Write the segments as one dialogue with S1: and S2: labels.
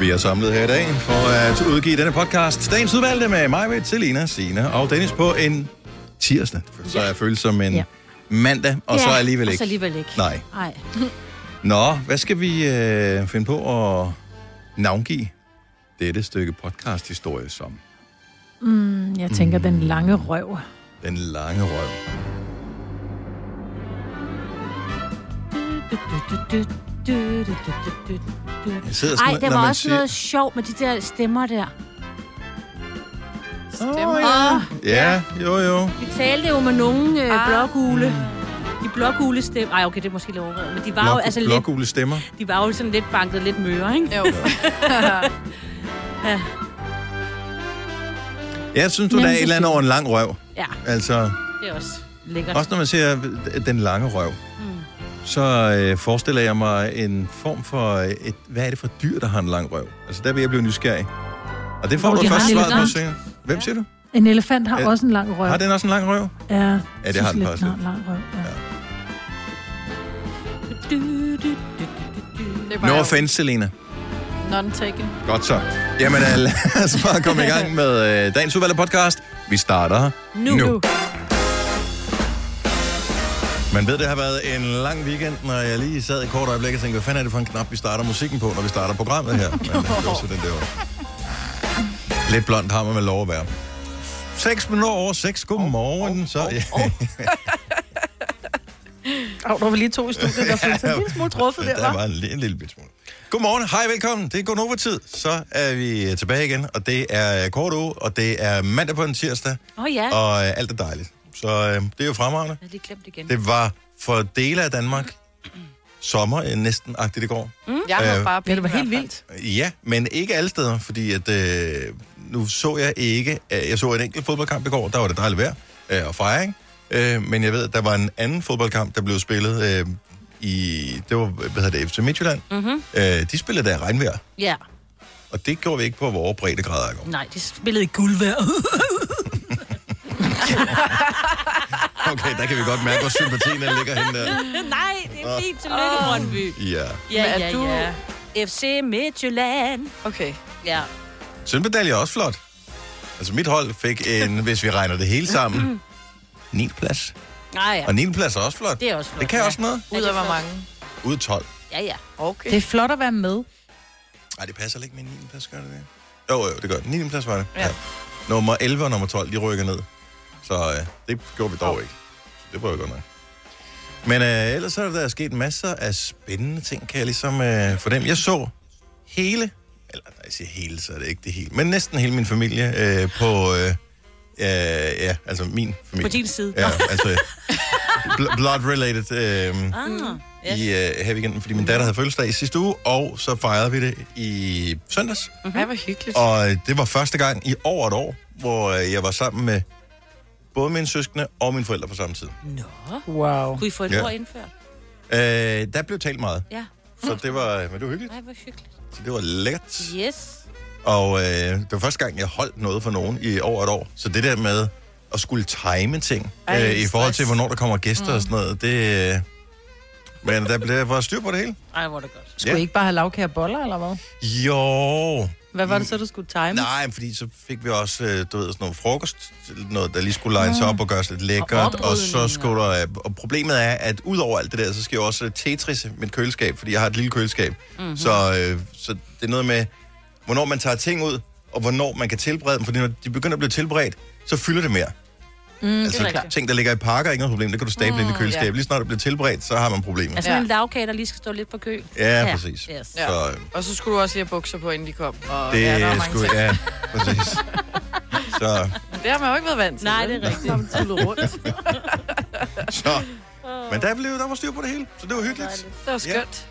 S1: vi er samlet her i dag for at udgive denne podcast. Dagens udvalgte med mig, ved Selina, Sina og Dennis på en tirsdag. Så jeg føles som en
S2: Ja.
S1: mandag, og så alligevel
S2: Og så
S1: ikke.
S2: alligevel ikke.
S1: Nej.
S2: Nej.
S1: Nå, hvad skal vi øh, finde på at navngive dette stykke podcast-historie som?
S3: Mm, jeg tænker, den lange røv.
S1: Den lange røv. Jeg sidder sådan,
S2: Ej, der
S1: når
S2: var
S1: man
S2: også
S1: siger-
S2: noget sjovt med de der stemmer der.
S1: Stemmer. Oh, ja. ja, jo, jo.
S2: Vi talte jo med nogle øh,
S4: Ah.
S2: blågule. De blågule stemmer. Ej, okay, det er måske lidt overredet, men de var jo
S1: Blok,
S2: altså lidt,
S1: blokule stemmer.
S2: de var jo sådan lidt banket lidt møre, ikke?
S4: Jo.
S2: ja.
S1: Jeg synes, du
S2: Jamen,
S1: der er et
S2: så
S1: eller andet over en lang røv.
S2: ja,
S1: Altså,
S2: det er også lækkert.
S1: også når man ser øh, den lange røv,
S2: Mm.
S1: så øh, forestiller jeg mig en form for øh, et... Hvad er det for dyr, der har en lang røv? Altså, der vil jeg blive nysgerrig. Og det får
S3: Nå,
S1: du
S3: de har
S1: først
S3: en
S1: svaret på
S3: elefant.
S1: senere. Hvem siger du?
S3: En elefant har
S1: Ja.
S3: også en lang røv.
S1: Har den også en lang røv?
S3: Ja,
S1: det
S3: synes
S1: har den
S3: lidt,
S1: faktisk
S3: har en lang røv. Ja.
S4: Det er bare
S1: No offense, Selena.
S4: non-taken.
S1: Godt så. Jamen, øh, lad os bare komme i gang med øh, dagens udvalgte podcast. Vi starter nu. nu. Man ved, det har været en lang weekend, når jeg lige sad i et kort øjeblik og tænkte, hvad fanden er det for en knap, vi starter musikken på, når vi starter programmet her? Men øh, det var så den der var. Lidt blond har man med lov at være. 6 minutter over 6. Godmorgen. Så, ja.
S5: Au, der var lige to i studiet, der følte sig en lille smule truffet der,
S1: Der
S5: var.
S1: var en, li- en lille bit smule. Godmorgen, hej, velkommen. Det er Gonova-tid. Så er vi øh, tilbage igen, og det er øh, kort uge, og det er mandag på en tirsdag,
S2: Åh oh, ja,
S1: og øh, alt er dejligt. Så øh, det er jo fremragende.
S2: jeg har lige glemt igen.
S1: Det var for dele af Danmark sommer øh, næsten-agtigt i går.
S4: Jeg har
S1: Øh,
S4: bare
S5: Ja, det var
S4: ben i
S5: helt
S4: hvert
S5: vildt.
S1: Ja, men ikke alle steder, fordi at, øh, nu så jeg ikke... Øh, jeg så en enkelt fodboldkamp i går, der var det dejligt vejr øh, og fejring. Øh, men jeg ved, at der var en anden fodboldkamp, der blev spillet øh, i... Det var, hvad hedder det, FC Midtjylland.
S2: Mhm.
S1: Øh, de spillede der i regnvejr,
S2: Ja,
S1: og det gjorde vi ikke på vores breddegrader i går.
S2: nej, de spillede i guldvejr.
S1: Okay, der kan vi godt mærke, hvor sympatien den ligger henne der.
S2: nej, det
S1: Ah.
S2: er fint. Tillykke,
S4: Åh.
S2: Brøndby.
S1: Ja.
S2: Ja,
S4: Men er
S2: ja,
S4: du-
S2: ja. FC Midtjylland.
S4: fald. Okay.
S2: Ja.
S1: Sølvmedalje er også flot. Altså mit hold fik en, hvis vi regner det hele sammen, 9. plads.
S2: Nej, ja.
S1: Ah, Og 9. plads er også flot.
S2: Det er også flot.
S1: Det kan
S2: ja.
S1: også noget.
S4: Ud
S2: det
S4: af
S2: er
S4: hvor
S2: flot.
S4: mange?
S1: Ud 12.
S2: Ja, ja.
S4: Okay.
S5: Det er flot at være med.
S1: Nej, det passer ikke med 9. plads, gør det det? Jo, jo, det gør det. 9. plads var det. Ja. Nummer 11 og nummer 12, de rykker ned. Så øh, det gjorde vi dog ikke. Så det var jo godt nok. Men øh, ellers så er der sket masser af spændende ting, kan jeg ligesom øh, for dem. Jeg så hele, eller når jeg siger hele, så er det ikke det hele, men næsten hele min familie øh, på, øh, øh, ja, altså min familie.
S2: På din side.
S1: Ja, altså bl- blood-related øh,
S2: Ah, yes.
S1: i øh, her weekenden, fordi min datter havde fødselsdag i sidste uge, og så fejrede vi det i søndags.
S2: Mhm.
S4: Ej, hvor hyggeligt.
S1: Og øh, det var første gang i over et år, hvor øh, jeg var sammen med både mine søskende og mine forældre på samme tid.
S2: Nå.
S5: Wow.
S2: Kunne I få et
S1: Ja.
S2: ord indført?
S1: Øh, der blev talt meget,
S2: Ja.
S1: så det var, øh, men det var hyggeligt.
S2: Nej, hvor hyggeligt.
S1: Så det var lækkert.
S2: Yes.
S1: Og øh, det var første gang, jeg holdt noget for nogen i over et år. Så det der med at skulle time ting
S4: Ej,
S1: øh, i forhold til,
S4: stress.
S1: hvornår der kommer gæster mm. og sådan noget, det... Øh, men der blev der var styr på det hele.
S2: Ej, hvor er det godt.
S5: Skulle I ikke bare have lavkære boller, eller hvad?
S1: Jo,
S5: Hvad var det så, du skulle time?
S1: Mm. Nej, fordi så fik vi også, øh, du ved, sådan noget frokost, noget, der lige skulle lines op og gøres lidt lækkert, og, og så skulle der, øh, og problemet er, at udover alt det der, så skal jeg også øh, Tetris i mit køleskab, fordi jeg har et lille køleskab.
S6: Mhm.
S2: Mhm.
S1: Mm-hmm. Så, øh, så det er noget med, hvornår man tager ting ud, og hvornår man kan tilberede dem, fordi når de begynder at blive tilberedt, så fylder det mere. Mm, altså,
S2: rigtigt.
S1: ting, der ligger i pakker, er ikke noget problem. Det kan du stable mm, ind i køleskabet.
S4: ja.
S1: Lige snart det bliver tilberedt, så har man problemer.
S2: Altså
S4: Ja.
S2: ja. en lavkage, der lige skal stå lidt på kø.
S1: Ja, præcis.
S2: Yes.
S4: Ja.
S1: Så, øh,
S4: Og så skulle du også lige have bukser på, inden de kom. Og
S1: det
S4: ja, der
S1: ja,
S4: var mange
S1: skulle,
S4: ting.
S1: ja, præcis. Så,
S4: Men Det har man jo ikke været vant til.
S2: Nej,
S4: vel?
S2: det er rigtigt.
S1: Så. Men der, blev, der var styr på det hele, så det var hyggeligt.
S4: Det var skønt.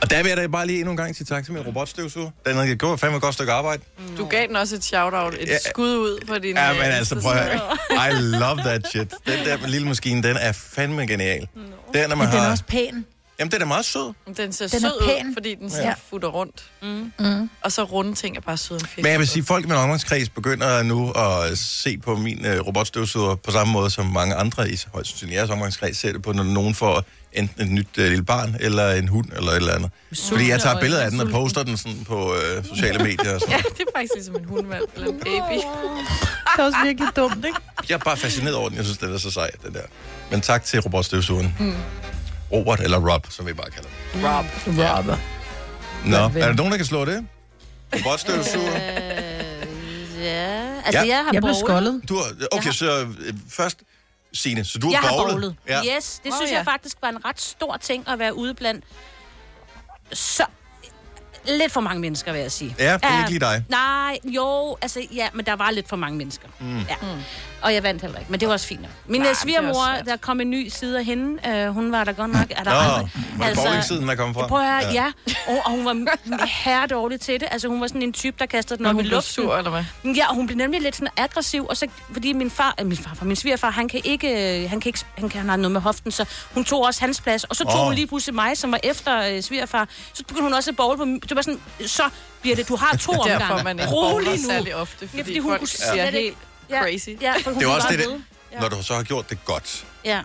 S1: Og der vil jeg da bare lige endnu en gang sige tak til min robotstøvsuger. Den har gjort fandme et godt stykke arbejde.
S4: Du gav den også et shout-out, et
S1: Ja.
S4: skud ud på din...
S1: Ja,
S4: øh,
S1: men altså, prøv at
S4: Instagram.
S1: høre. I love that shit. Den der lille maskine, den er fandme genial. Den, når man
S3: Men den er
S1: har...
S3: også pæn.
S1: Jamen, den er meget sød.
S4: Den ser
S3: Den er
S4: sød ud,
S3: pæn.
S4: fordi den
S3: Ja.
S4: sådan futter rundt. Mm.
S3: Mm.
S4: Og så runde ting er bare søde en fisk.
S1: Men jeg vil sige, folk i min omgangskreds begynder nu at se på min øh, robotstøvsuger på samme måde, som mange andre i højst sandsynligt jeres omgangskreds ser det på, når nogen får enten et nyt øh, lille barn, eller en hund, eller et eller andet. Fordi jeg tager billeder af den og poster den sådan på øh, sociale medier og sådan
S4: Ja,
S1: noget.
S4: det er faktisk ligesom en hundvalg eller en baby.
S5: Det er også virkelig dumt, ikke?
S1: Jeg er bare fascineret over den. Jeg synes, den er så sej, den der. Men tak til robotstøvsugeren. Mm. Robert, eller Rob, som vi bare kalder den.
S4: Rob.
S5: Robber.
S1: Nå, er der nogen, der kan slå det? Robotstøvsuger?
S2: Ja, altså jeg har
S1: Ja.
S5: Jeg blev
S2: bowlet.
S5: skoldet.
S1: Du har, okay,
S2: Jeg
S1: så øh, først, Signe, så du
S2: Jeg
S1: har
S2: har
S1: bowlet.
S2: bowlet.
S1: Ja.
S2: Yes, det
S4: Åh,
S2: synes
S4: ja.
S2: jeg faktisk var en ret stor ting at være ude blandt så lidt for mange mennesker, vil jeg sige. Øhm,
S1: ja, det er ikke lige dig.
S2: Nej, jo, altså ja, men der var lidt for mange mennesker. Mm. Ja. Og jeg vandt heller ikke, men det var også fint. nok. Min
S4: Nej, men
S2: Nej,
S4: det er også
S2: svigermor,
S4: svært.
S2: der kom en ny side af hende, øh, hun var der godt nok. Er der
S1: Nå,
S2: andre- Altså,
S1: var det bowlingsiden, der kom fra?
S2: Prøv at høre, ja. Og, og hun var m- herre dårlig til det. Altså, hun var sådan en type, der kastede den
S4: Når
S2: op i
S4: hun blev
S2: luften.
S4: sur, eller hvad?
S2: Ja, og hun blev nemlig lidt sådan aggressiv, og så fordi min far, øh, min far, min svigerfar, han kan ikke, øh, han kan ikke, han kan han har noget med hoften, så hun tog også hans plads, og så tog
S1: Åh.
S2: oh. hun lige pludselig mig, som var efter øh, svigerfar, så begyndte hun også at bowl på, min- det var sådan, så bliver det, du har to omgange.
S4: Derfor man ikke
S2: Rolig
S4: bowler
S2: nu.
S4: særlig ofte, fordi,
S2: Ja, fordi hun
S4: folk
S2: kunne
S4: siger
S2: slet
S4: helt
S2: ikke-
S4: crazy.
S2: Ja, for hun
S1: Det er
S2: blev
S1: også
S2: bare
S1: det,
S2: ved.
S1: det, når du så har gjort det godt,
S2: Ja.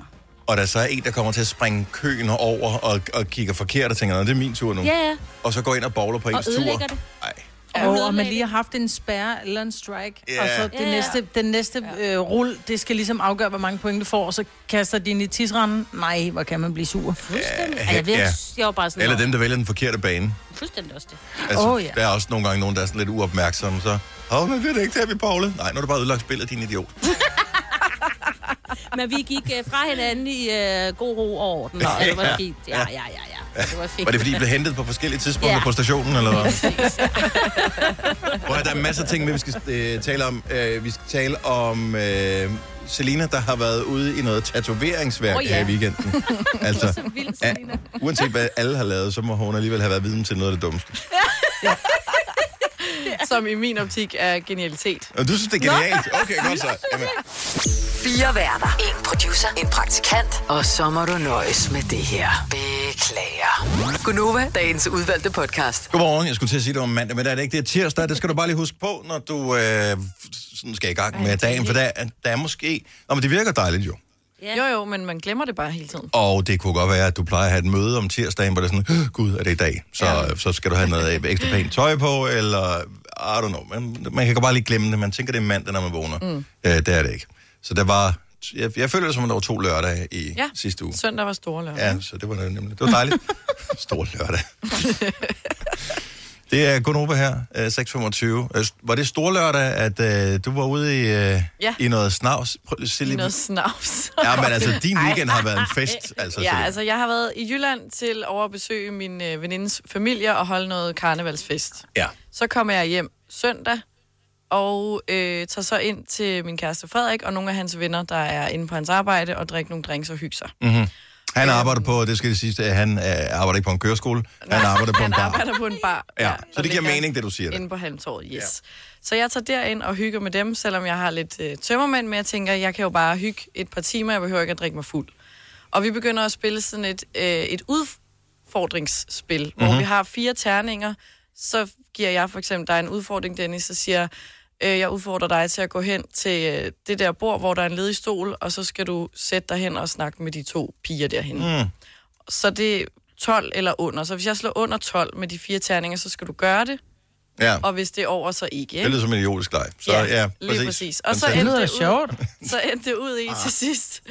S1: og der så er en, der kommer til at springe køen over og, og kigger forkert og tænker, "Nå, det er min tur nu,
S2: Ja, ja.
S1: og så går ind og bowler på
S2: Og
S1: ens tur.
S2: ødelægger det.
S1: Nej.
S2: hun
S5: Og, og man
S2: ødelagde
S5: lige
S2: det.
S5: har haft en spærre eller en strike,
S1: Ja.
S5: og så det
S2: Ja.
S5: næste, den næste øh, rul, det skal ligesom afgøre, hvor mange point du får, og så kaster de ind i tidsranden. Nej, hvor kan man blive sur.
S2: Fuldstændig. Altså,
S1: Ja,
S2: Ja, jeg, ved,
S1: ja.
S2: jeg var bare sådan,
S1: Eller
S2: "Nå,
S1: dem, der vælger den forkerte bane.
S2: fuldstændig også det.
S1: Altså,
S5: Åh, ja.
S1: Der er også nogle gange nogen, der er sådan lidt uopmærksomme, så... Åh, men det er det ikke der, vi bowlede. Nej, nu er du bare ødelagt spillet, din idiot.
S2: Men vi gik øh, fra hinanden i øh, god ro og orden, og det var fint. Ja, ja, ja, ja. Det var fint.
S1: Var det, fordi I blev hentet på forskellige tidspunkter
S2: Ja.
S1: på stationen, eller hvad? Prøv at høre, der er masser af ting, med, vi skal øh, tale om. Øh, vi skal tale om øh, Selina, der har været ude i noget tatoveringsværk oh,
S2: Åh,
S1: ja.
S2: ja.
S1: her i weekenden. Altså,
S2: vildt,
S1: ja, uanset hvad alle har lavet, så må hun alligevel have været viden til noget af det dummeste.
S4: Som i min optik er genialitet.
S1: Og du synes, det er genialt? Okay, godt så. Jamen,
S7: Fire værter. En producer. En praktikant. Og så må du nøjes med det her. Beklager. Gunova, dagens udvalgte podcast.
S1: Godmorgen, jeg skulle til at sige, det var mandag, men der er det ikke. Det er tirsdag, det skal du bare lige huske på, når du øh, sådan skal i gang med dagen, for der, er- der er måske... Nå, men det virker dejligt jo.
S4: Jo, jo, men man glemmer det bare hele tiden.
S1: Og det kunne godt være, at du plejer at have et møde om tirsdagen, hvor det er sådan, "Åh, gud, er det i dag? Så, ja. så skal du have noget ekstra pænt tøj på, eller I don't know. Man, man kan godt bare lige glemme det. Man tænker, det er mandag, når man vågner. Mm. Øh, det er det ikke. Så der var, jeg, jeg føler det som, at der var to lørdage i ja.
S4: Ja.
S1: sidste uge.
S4: Søndag var store lørdag.
S1: Ja, så det var det nemlig. Det var dejligt. Stor lørdag. det er Gunnova her, øh, 6.25. Øh, Var det stor lørdag, at øh, du var ude i, øh,
S4: Ja.
S1: i noget snavs? Prøv, lige at se
S4: I
S1: lige-
S4: noget snavs.
S1: Ja, men altså, din weekend har været en fest. Altså,
S4: Ja,
S1: Selina.
S4: altså jeg har været i Jylland til over at besøge min øh, venindes familie og holde noget karnevalsfest.
S1: ja.
S4: Så kommer jeg hjem søndag og øh, tager så ind til min kæreste Frederik og nogle af hans venner, der er inde på hans arbejde og drikker nogle drinks og hygger sig. Mm.
S1: Mm-hmm. Han arbejder på, det skal jeg sige, at han øh, arbejder ikke på en køreskole, han arbejder på en
S4: Han
S1: bar.
S4: arbejder på en bar.
S1: Ja,
S4: der
S1: så det giver
S4: ligger
S1: mening, det du siger der.
S4: Inde på halmtåret, yes. Ja. Så jeg tager derind og hygger med dem, selvom jeg har lidt øh, tømmermænd, men jeg tænker, jeg kan jo bare hygge et par timer, jeg behøver ikke at drikke mig fuld. Og vi begynder at spille sådan et, øh, et udfordringsspil, mm-hmm.
S1: Mhm.
S4: hvor vi har fire terninger. Så giver jeg for eksempel dig en udfordring, Dennis, så siger jeg, øh, jeg udfordrer dig til at gå hen til øh, det der bord, hvor der er en ledig stol, og så skal du sætte dig hen og snakke med de to piger derhen. Mm. Så det er 12 eller under. Så hvis jeg slår under 12 med de fire terninger, så skal du gøre det.
S1: Ja,
S4: Og hvis det er over, så ikke.
S1: det
S4: ikke?
S1: lyder som en idiotisk leg. Så ja, ja præcis.
S4: lige præcis. Og
S1: Men Ah.
S4: så
S1: tak.
S5: Det
S4: endte
S5: lyder
S4: det, ud,
S5: sjovt.
S4: så endte det ud i til sidst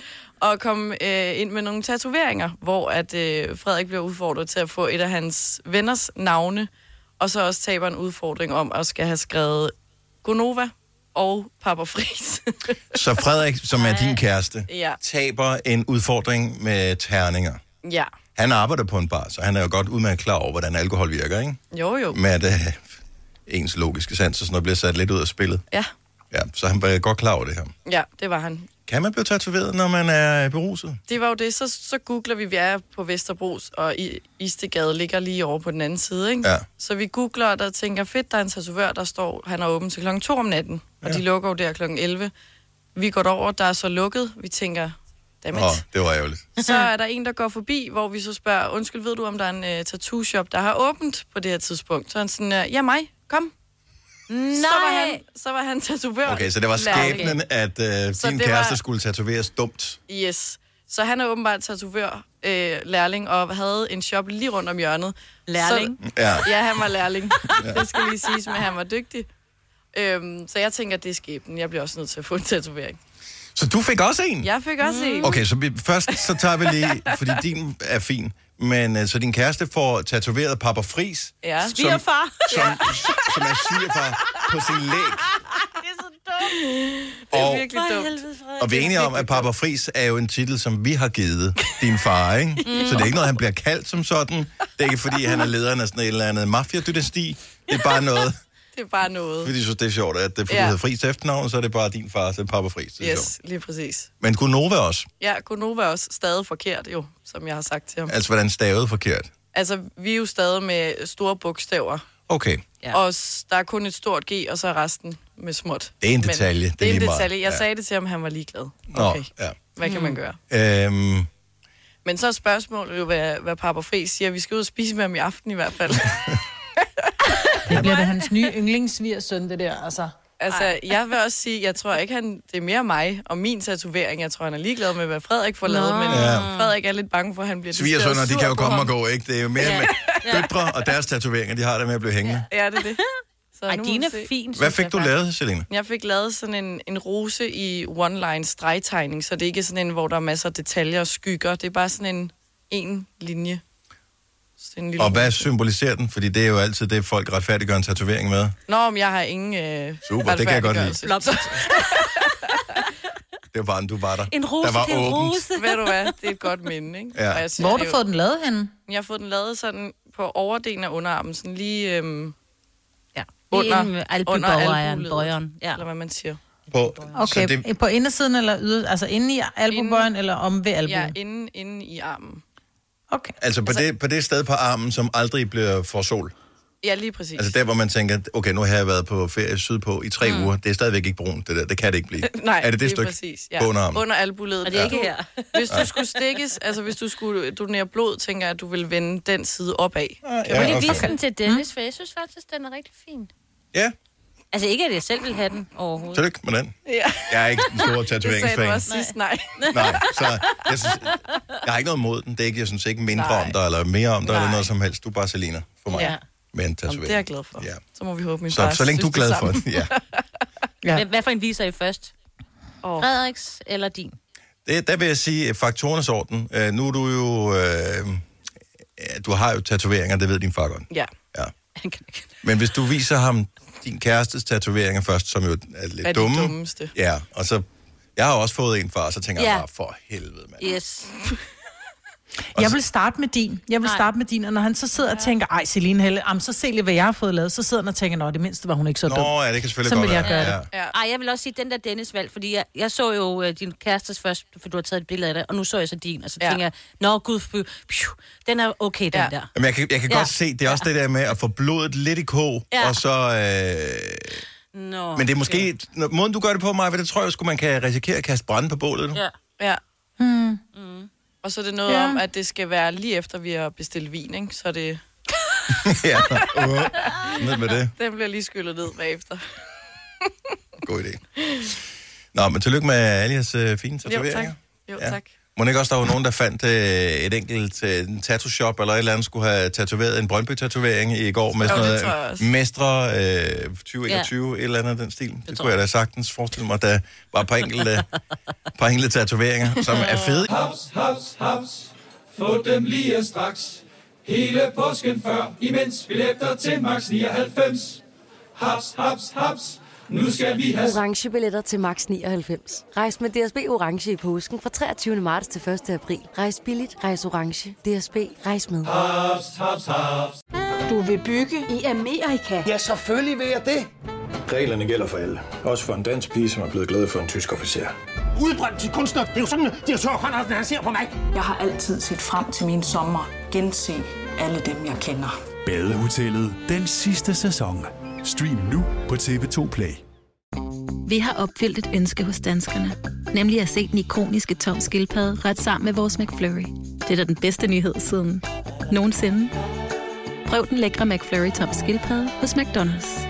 S4: at komme øh, ind med nogle tatoveringer, hvor at øh, Frederik bliver udfordret til at få et af hans venners navne, og så også taber en udfordring om at skal have skrevet Gonova og Papa Fris.
S1: så Frederik, som er din kæreste,
S4: Ja.
S1: taber en udfordring med terninger.
S4: ja,
S1: Han arbejder på en bar, så han er jo godt udmærket klar over, hvordan alkohol virker, ikke?
S4: jo jo.
S1: Med at øh, ens logiske sans og sådan noget bliver sat lidt ud af spillet.
S4: Ja,
S1: Ja, så han var godt klar over det her.
S4: ja det var han.
S1: Kan man blive tatoveret, når man er beruset?
S4: Det var jo det, så, så googler vi, vi er på Vesterbros, og I, Istegade ligger lige over på den anden side, ikke?
S1: Ja.
S4: Så vi googler, og der tænker, fedt, der er en tatovør, der står, han er åben til klokken 2 om natten, og
S1: Ja.
S4: de lukker jo der klokken 11. Vi går derover, der er så lukket, vi tænker, Dammit.
S1: Åh, det var ærgerligt.
S4: Så er der en, der går forbi, hvor vi så spørger, undskyld, ved du, om der er en øh, tattoo-shop, der har åbent på det her tidspunkt? Så er han sådan, øh, ja mig, kom. Nej. Så var han, så var han tatovør.
S1: Okay, så det var
S4: Lærling.
S1: skæbnen, at øh,
S4: Så
S1: din
S4: det var-
S1: kæreste skulle tatoveres dumt.
S4: Yes. Så han er åbenbart tatovør, øh, lærling, og havde en shop lige rundt om hjørnet.
S5: Lærling?
S4: Så,
S1: Ja.
S4: ja, han var lærling. Det skal lige siges, men han var dygtig. Øhm, så jeg tænker, det er skæbnen. Jeg bliver også nødt til at få en tatovering.
S1: Så du fik også en?
S4: Jeg fik også en.
S1: Hmm. Okay, så vi, først så tager vi lige, fordi din er fin, men øh, så din kæreste får tatoveret Papa Fris,
S4: Ja.
S2: Svigerfar.
S1: som, som er svigerfar på sin læg.
S4: Det er så dumt. Det er
S1: Og-
S4: virkelig dumt.
S1: Og vi er enige om, at Papa Fris er jo en titel, som vi har givet din far, ikke?
S4: Mm.
S1: Så det er ikke noget, han bliver kaldt som sådan. Det er ikke, fordi han er lederen af sådan et eller andet mafia-dynasti. Det er bare noget,
S4: Det er bare noget.
S1: fordi de synes, det er sjovt, at det er, fordi
S4: Ja.
S1: ja. hedder Fris til efternavn, så er det bare din far, så er det Papa Fris. Det er sjovt.
S4: Yes, lige præcis.
S1: Men Gunova også.
S4: Ja, Gunova er også stadig forkert, jo, som jeg har sagt til ham.
S1: Altså, hvordan stavede forkert.
S4: Altså, vi er jo stadig med store bogstaver.
S1: Okay.
S4: Ja. Og s- der er kun et stort G, og så er resten med småt.
S1: Det er en detalje, det er
S4: Men det er en
S1: lige meget.
S4: detalje. Jeg
S1: Ja.
S4: sagde det til ham, han var ligeglad.
S1: Nå,
S4: Okay,
S1: ja.
S4: hvad kan man
S2: Hmm.
S4: gøre?
S1: Øhm,
S4: Men så er spørgsmålet jo, hvad, hvad Papa Fri siger. Vi skal ud og spise med ham i aften i hvert fald.
S5: Det bliver da hans nye yndlingssvigersøn, det der, altså.
S4: altså, jeg vil også sige, jeg tror ikke, han, det er mere mig og min tatovering. Jeg tror, han er ligeglad med, hvad Frederik får lavet. Men
S1: Ja.
S4: Frederik er lidt bange for, at han bliver
S1: Svigersønner,
S4: decideret
S1: de
S4: sur
S1: kan jo
S4: på
S1: komme
S4: ham.
S1: og gå, ikke? Det er jo mere ja. med døtre og deres tatoveringer, de har det med at blive hængende.
S4: Ja, det er det. Så
S2: Ej,
S4: nu må
S2: din
S4: vi
S2: er
S4: se.
S2: fin.
S1: Hvad
S2: synes
S1: fik
S2: jeg
S1: du
S2: faktisk.
S1: lavet, Selina?
S4: Jeg fik lavet sådan en, en rose i one-line stregtegning, så det er ikke sådan en, hvor der er masser af detaljer og skygger. Det er bare sådan en en linje. Sådan en lille
S1: Og hvad
S4: rose.
S1: symboliserer den? Fordi det er jo altid det, folk retfærdiggør en tatovering med.
S4: Nå, men jeg har ingen øh,
S1: Super, det kan jeg godt lide.
S4: retfærdiggørelse.
S1: Det var bare, en, du var der.
S2: En rose
S1: der var
S2: til en
S1: åbent.
S2: rose.
S4: Ved du hvad, det er et godt minde, ikke?
S1: Ja.
S4: Og jeg synes,
S5: Hvor har
S4: det
S5: du
S4: er jo-
S5: fået den lavet henne?
S4: Jeg har fået den lavet sådan på overdelen af underarmen, sådan lige øhm,
S2: Ja.
S4: Under-
S2: Under,
S4: under
S2: under albuejeren,
S4: albuledet.
S2: bøjeren. Ja.
S4: eller hvad man siger.
S1: På,
S5: Okay,
S1: så det,
S5: det... på indersiden eller yder, altså inde i albubøjen eller om ved
S4: Ja,
S5: albuen?
S4: inde, inde i armen.
S5: Okay.
S1: altså, på, det, på det sted på armen, som aldrig bliver for sol.
S4: Ja, lige præcis.
S1: Altså der, hvor man tænker, okay, nu har jeg været på ferie sydpå i tre mm. uger. Det er stadigvæk ikke brunt, det der. Det kan det ikke blive.
S4: Nej,
S1: er det det
S4: lige
S1: stykke
S4: præcis.
S1: på underarmen?
S4: Under albuledet.
S2: Og det er ikke her.
S4: Hvis du skulle stikkes, altså hvis du skulle donere blod, tænker jeg, at du vil vende den side opad.
S2: Må
S1: Ah, Ja,
S2: lige
S1: okay.
S2: vise den til Dennis, for jeg synes faktisk, den er rigtig fin.
S1: ja,
S2: Altså ikke, at jeg selv vil have den overhovedet.
S1: tillykke med den.
S4: Ja,
S1: Jeg er ikke en stor
S4: det sagde du
S1: tatoveringsfan.
S4: også sidst, nej.
S1: Nej, så jeg, synes, jeg har ikke noget imod den. Det er ikke, jeg synes ikke mindre Nej.
S4: Nej.
S1: om dig, eller mere om dig, Nej. eller
S4: Nej.
S1: noget som helst. Du er bare Selina for mig. Ja.
S4: Ja.
S1: Med en
S4: Jamen,
S1: tatovering.
S4: det er jeg glad for.
S1: Ja.
S4: Så må vi håbe, min far
S1: Så, så længe du er
S4: synes
S1: glad for
S4: samme.
S1: den, ja.
S5: Ja.
S2: Hvad- Hvad for en viser I først?
S4: Åh.
S2: Frederiks eller din?
S1: Det, der vil jeg sige, at faktorernes orden. Øh, nu er du jo... Øh, ja, du har jo tatoveringer, det ved din far godt.
S4: Ja,
S1: Ja.
S2: Han kan ikke.
S1: Men hvis du viser ham din kærestes tatoveringer først, som jo er lidt
S4: er det
S1: dumme.
S4: dummeste.
S1: Ja, og så... Jeg har også fået en far, så tænker ja.
S2: Ja.
S1: jeg bare, for helvede, mand.
S2: Yes.
S5: Jeg vil starte med din. Jeg vil
S2: Nej.
S5: starte med din, og når han så sidder og tænker, ej, Celine Helle, am, så se lige, hvad jeg har fået lavet, så sidder han og tænker, nå, det mindste var hun ikke så dum.
S1: Nå, ja, det kan selvfølgelig
S5: Sådan
S1: godt
S5: vil jeg
S1: være.
S5: gøre
S1: ja.
S5: det.
S4: Ja.
S2: Ej, jeg vil også sige den der Dennis valg, fordi jeg, jeg så jo øh, din kærestes først, for du har taget et billede af det, og nu så jeg så din, og så
S4: Ja.
S2: ja. tænker jeg, nå gud, fy, pju, den er okay, den
S4: Ja.
S2: ja. der.
S1: Jamen, jeg kan, jeg kan ja.
S2: Ja.
S1: godt se, det er også det der med at få blodet lidt i kog, ja.
S2: Ja.
S1: og så... Øh,
S2: Nå,
S1: men det er måske... Når, måden, du gør det på, mig, det tror jeg sgu, man kan risikere at kaste brænde på bålet. Ja.
S2: Ja.
S4: Ja. Mm.
S2: Hmm.
S4: Og så er det noget
S5: Ja.
S4: ja. om, at det skal være lige efter, vi har bestilt vin, ikke? Så det,
S1: ja. Uh, ned med det.
S4: den bliver lige skyllet ned bagefter.
S1: God idé. Nå, men tillykke med alle jeres øh, fine
S4: Jo,
S1: tatoveringer.
S4: tak. Jo,
S1: Ja.
S4: ja. tak.
S1: Må det ikke også, der var nogen, der fandt øh, et enkelt øh, en tattoo-shop eller et eller andet, skulle have tatoveret en Brøndby-tatovering i går med
S4: Jo,
S1: sådan
S4: det
S1: noget
S4: tror jeg også.
S1: mestre øh, 2021, ja. et eller andet af den stil. Det, det kunne jeg da sagtens forestille mig, der var et par enkelte, par enkelte tatoveringer, som er fede.
S8: Haps, haps, haps. Få dem lige straks. Hele påsken før, imens billetter til max 99. Haps, haps, haps. Nu skal vi have
S9: Orange billetter til max 99. Rejs med DSB Orange i påsken fra 23. marts til 1. april. Rejs billigt, rejs orange. DSB, rejs med.
S10: Reglerne gælder for alle. Også for en dansk pige, som er blevet glad for en tysk officer.
S11: udbrændt til kunstner. Det er jo sådan, at de har Conradsen, han ser på mig.
S12: Jeg har altid set frem til min sommer, gense alle dem, jeg kender.
S11: Badehotellet, den sidste sæson. Stream nu på TV2 Play.
S13: Vi har opfyldt et ønske hos danskerne. Nemlig at se den ikoniske tom skildpadde ret sammen med vores McFlurry. Det er da den bedste nyhed siden nogensinde. Prøv den lækre McFlurry tom skildpadde hos McDonald's.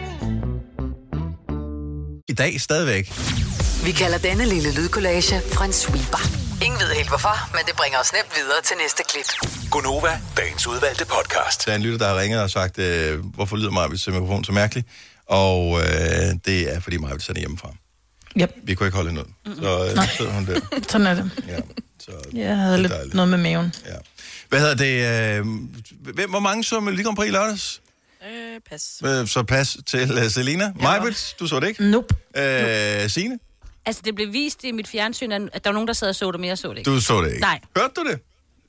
S1: I dag stadigvæk.
S7: Vi kalder denne lille lydkollage en sweeper. Ingen ved helt hvorfor, men det bringer os nemt videre til næste klip.
S1: Gunova, dagens udvalgte podcast. Der er en lytter, der har ringet og sagt, øh, hvorfor lyder Marvits mikrofon så mærkelig? Og øh, det er, fordi Marvits sender hjemmefra.
S5: Yep.
S1: Vi kunne ikke holde hende ud. Så øh, sidder hun der.
S5: Sådan er det.
S1: Ja,
S5: jeg havde lidt noget med maven.
S1: Ja. Hvad hedder det? Øh, hvem, hvor mange så Melodi Grand Prix i lørdags?
S4: Øh, pas.
S1: Øh, Så pas til uh, Selina. Ja. Majbrit, du så det ikke?
S5: Nope.
S1: Øh, Signe,
S2: Altså, det blev vist i mit fjernsyn, at at der var nogen, der sad og så det, men jeg så det ikke.
S1: du så det ikke.
S2: Nej,
S1: Hørte du det?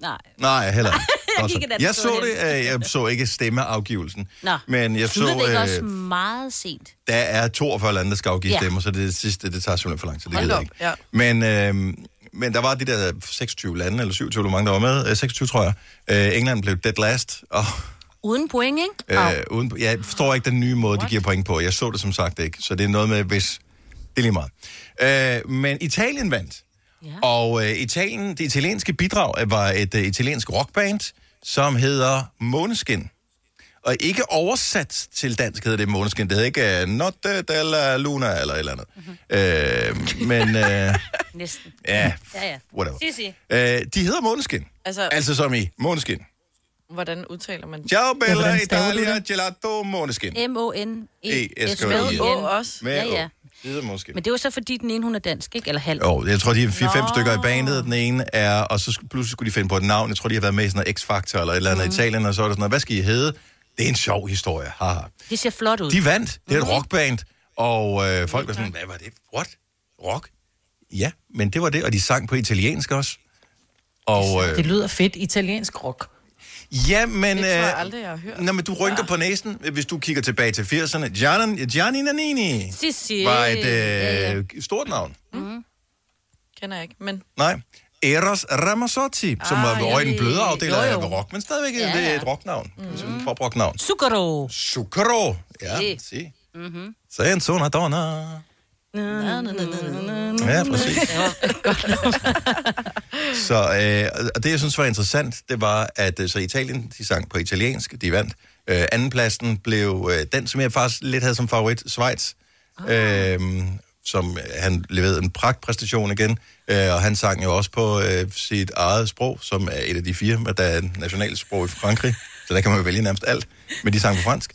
S2: nej.
S1: Nej, heller ikke.
S2: Jeg
S1: Også-
S2: gik et andet
S1: jeg
S2: sted
S1: så
S2: hen.
S1: det, øh, jeg så ikke stemmeafgivelsen.
S2: Nå.
S1: Men jeg så,
S2: Sluttede det ikke også
S1: øh,
S2: meget sent?
S1: der er 42 lande, der skal afgive
S2: Ja.
S1: stemmer, så det, er det sidste, det tager simpelthen for lang tid. Det
S2: Hold
S1: gider jeg
S2: op,
S1: ikke.
S2: ja.
S1: Men, øh, men der var de der 26 lande, eller 27, hvor mange der var med. Øh, 26, tror jeg. Øh, England blev dead last, og
S2: Uden point, ikke?
S1: Øh, uden, jeg forstår ikke den nye måde, de giver point på. Jeg så det som sagt ikke, så det er noget med, hvis... Det er lige meget. Øh, men Italien vandt. Ja. Og øh, Italien, det italienske bidrag øh, var et øh, italiensk rockband, som hedder Måneskin. Og ikke oversat til dansk hedder det Måneskin. Det hedder ikke øh, Notte della Luna eller et eller andet. Mm-hmm. Øh, men øh,
S2: Næsten.
S1: ja,
S4: Ja, ja.
S1: whatever.
S4: Sig, sig.
S1: Øh, de hedder Måneskin.
S4: Altså,
S1: Altså som i Måneskin.
S4: hvordan udtaler man det?
S1: Ciao Bella Italia Gelato Måneskin.
S2: M-O-N-E-S.
S1: E-S-K-I-N.
S2: Med
S1: Med
S2: N.
S1: Å
S4: også.
S1: Med
S2: ja,
S1: Å.
S2: ja.
S1: Det hedder måske.
S2: Men det var så, fordi den ene, hun er dansk, ikke? Eller halv.
S1: Jo, jeg tror, de er
S2: Nå.
S1: 4-5 stykker i bandet. Den ene er, og så sk- pludselig skulle de finde på et navn. Jeg tror, de har været med i sådan noget X-Factor eller et eller andet mm. Italien, og så er der sådan noget, hvad skal I hedde? Det er en sjov historie, haha.
S2: Det ser flot ud. Mhm.
S1: De vandt. Det er
S5: Mm.
S1: et rockband. Og øh, folk var sådan, hvad var det? What? Rock? Ja, men det var det. Og de sang på italiensk også. Og, øh,
S5: Det lyder fedt. Italiensk rock.
S1: ja, men...
S5: Det tror jeg
S1: øh,
S5: aldrig, jeg har hørt.
S1: Nå, men du rynker ja. på næsen, hvis du kigger tilbage til 80'erne. Gianni, Gianni Nannini
S4: Si, si.
S1: var et øh,
S4: Ja, ja.
S1: stort navn.
S4: Mm. Kender jeg ikke, men...
S1: Nej. Eros Ramazzotti, ah, som var
S4: Ah,
S1: over i den
S4: ja.
S1: bløde afdeling
S4: Jo,
S1: af
S4: jo.
S1: rock, men stadigvæk
S4: Ja,
S1: ja, ja.
S4: ja. Mhm.
S1: et rocknavn. Mm. Et poprocknavn.
S2: Zucchero.
S1: Zucchero. Ja,
S2: Si.
S1: si.
S4: Mhm.
S2: Mm-hmm.
S1: Say en sona donna. Ja, præcis. Så øh, og det, jeg synes var interessant, det var, at øh, så Italien, de sang på italiensk, de vandt. Øh, andenpladsen blev øh, den, som jeg faktisk lidt havde som favorit, Schweiz. Øh, som øh, han leverede en pragtpræstation igen, øh, og han sang jo også på øh, sit eget sprog, som er et af de fire, men der er et nationalt sprog i Frankrig, så der kan man jo vælge nærmest alt, men de sang på fransk.